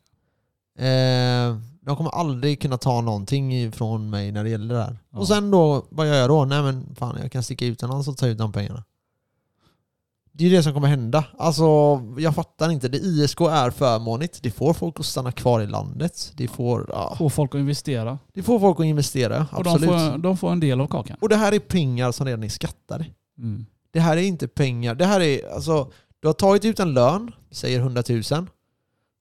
Eh, de kommer aldrig kunna ta någonting ifrån mig när det gäller det här.
Ja.
Och sen då, vad gör jag då? Nej men fan, jag kan sticka utomlands och ta ut de pengarna. Det är ju det som kommer hända. Alltså, jag fattar inte. Det ISK är förmånligt. Det får folk att stanna kvar i landet. Det får, ja,
Få folk att investera.
det får folk att investera,
Och de
absolut.
får, de får en del av kakan.
Och det här är pengar som redan är skattade.
Mm.
Det här är inte pengar. Det här är alltså, du har tagit ut en lön, säger 100 000.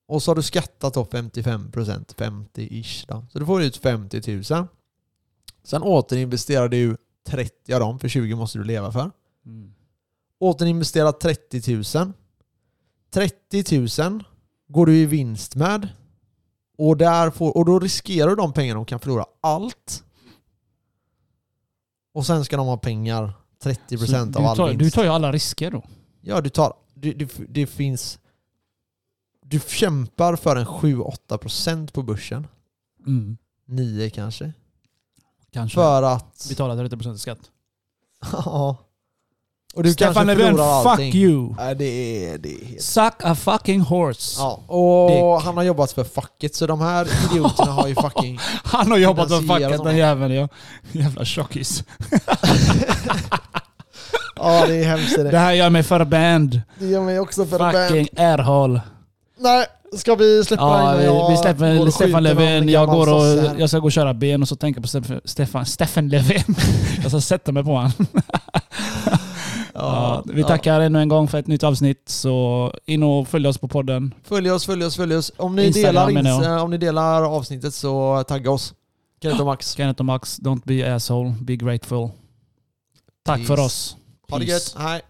Och så har du skattat då 55 procent, 50-ish då. Så du får ut 50 000. Sen återinvesterar du 30 av dem, för 20 måste du leva för.
Mm.
Återinvesterar 30 000. 30 000 går du i vinst med. Och, där får, och då riskerar du de pengarna och kan förlora allt. Och sen ska de ha pengar 30 procent
Så
av
du
all
tar,
vinst.
Du tar ju alla risker då.
Ja, du tar... Det, det, det finns... Du kämpar för en 7-8% på börsen.
Mm.
9 kanske.
Kanske.
För att...
Betala 30% i skatt.
Ja. Och du
Stefan
kanske
Löfven,
förlorar allting.
fuck you!
Nej, det är... Det är helt...
Suck a fucking horse!
Ja, och
Dick.
han har jobbat för facket så de här idioterna har ju fucking...
Han har jobbat med
Finansiera
facket
sådana.
den jäveln ja. Jävla tjockis.
Ja, det är hemskt. Det,
Det här gör mig förband.
det gör mig också förbannad.
Fucking ärhål.
Nej, ska vi släppa
Ja,
innan
vi,
jag
vi
går
släpper
och skjuter
Stefan Löfven.
någon
Jag,
gammal
går
sosse
och,
här?
jag ska gå och köra ben och så tänker jag på Stefan, Stefan, Stefan Löfven. jag ska sätta mig på han. ja, vi tackar ännu en gång för ett nytt avsnitt. Så in och följ oss på podden.
Följ oss, följ oss, följ oss. Om ni,
Instagram
delar,
menar
ins-
jag.
eh, om ni delar avsnittet så tagga oss. Kenneth och Max.
Kenneth och Max, don't be asshole, be grateful. Tack
Peace.
för oss.
Ha det
Peace.
gött. Hej.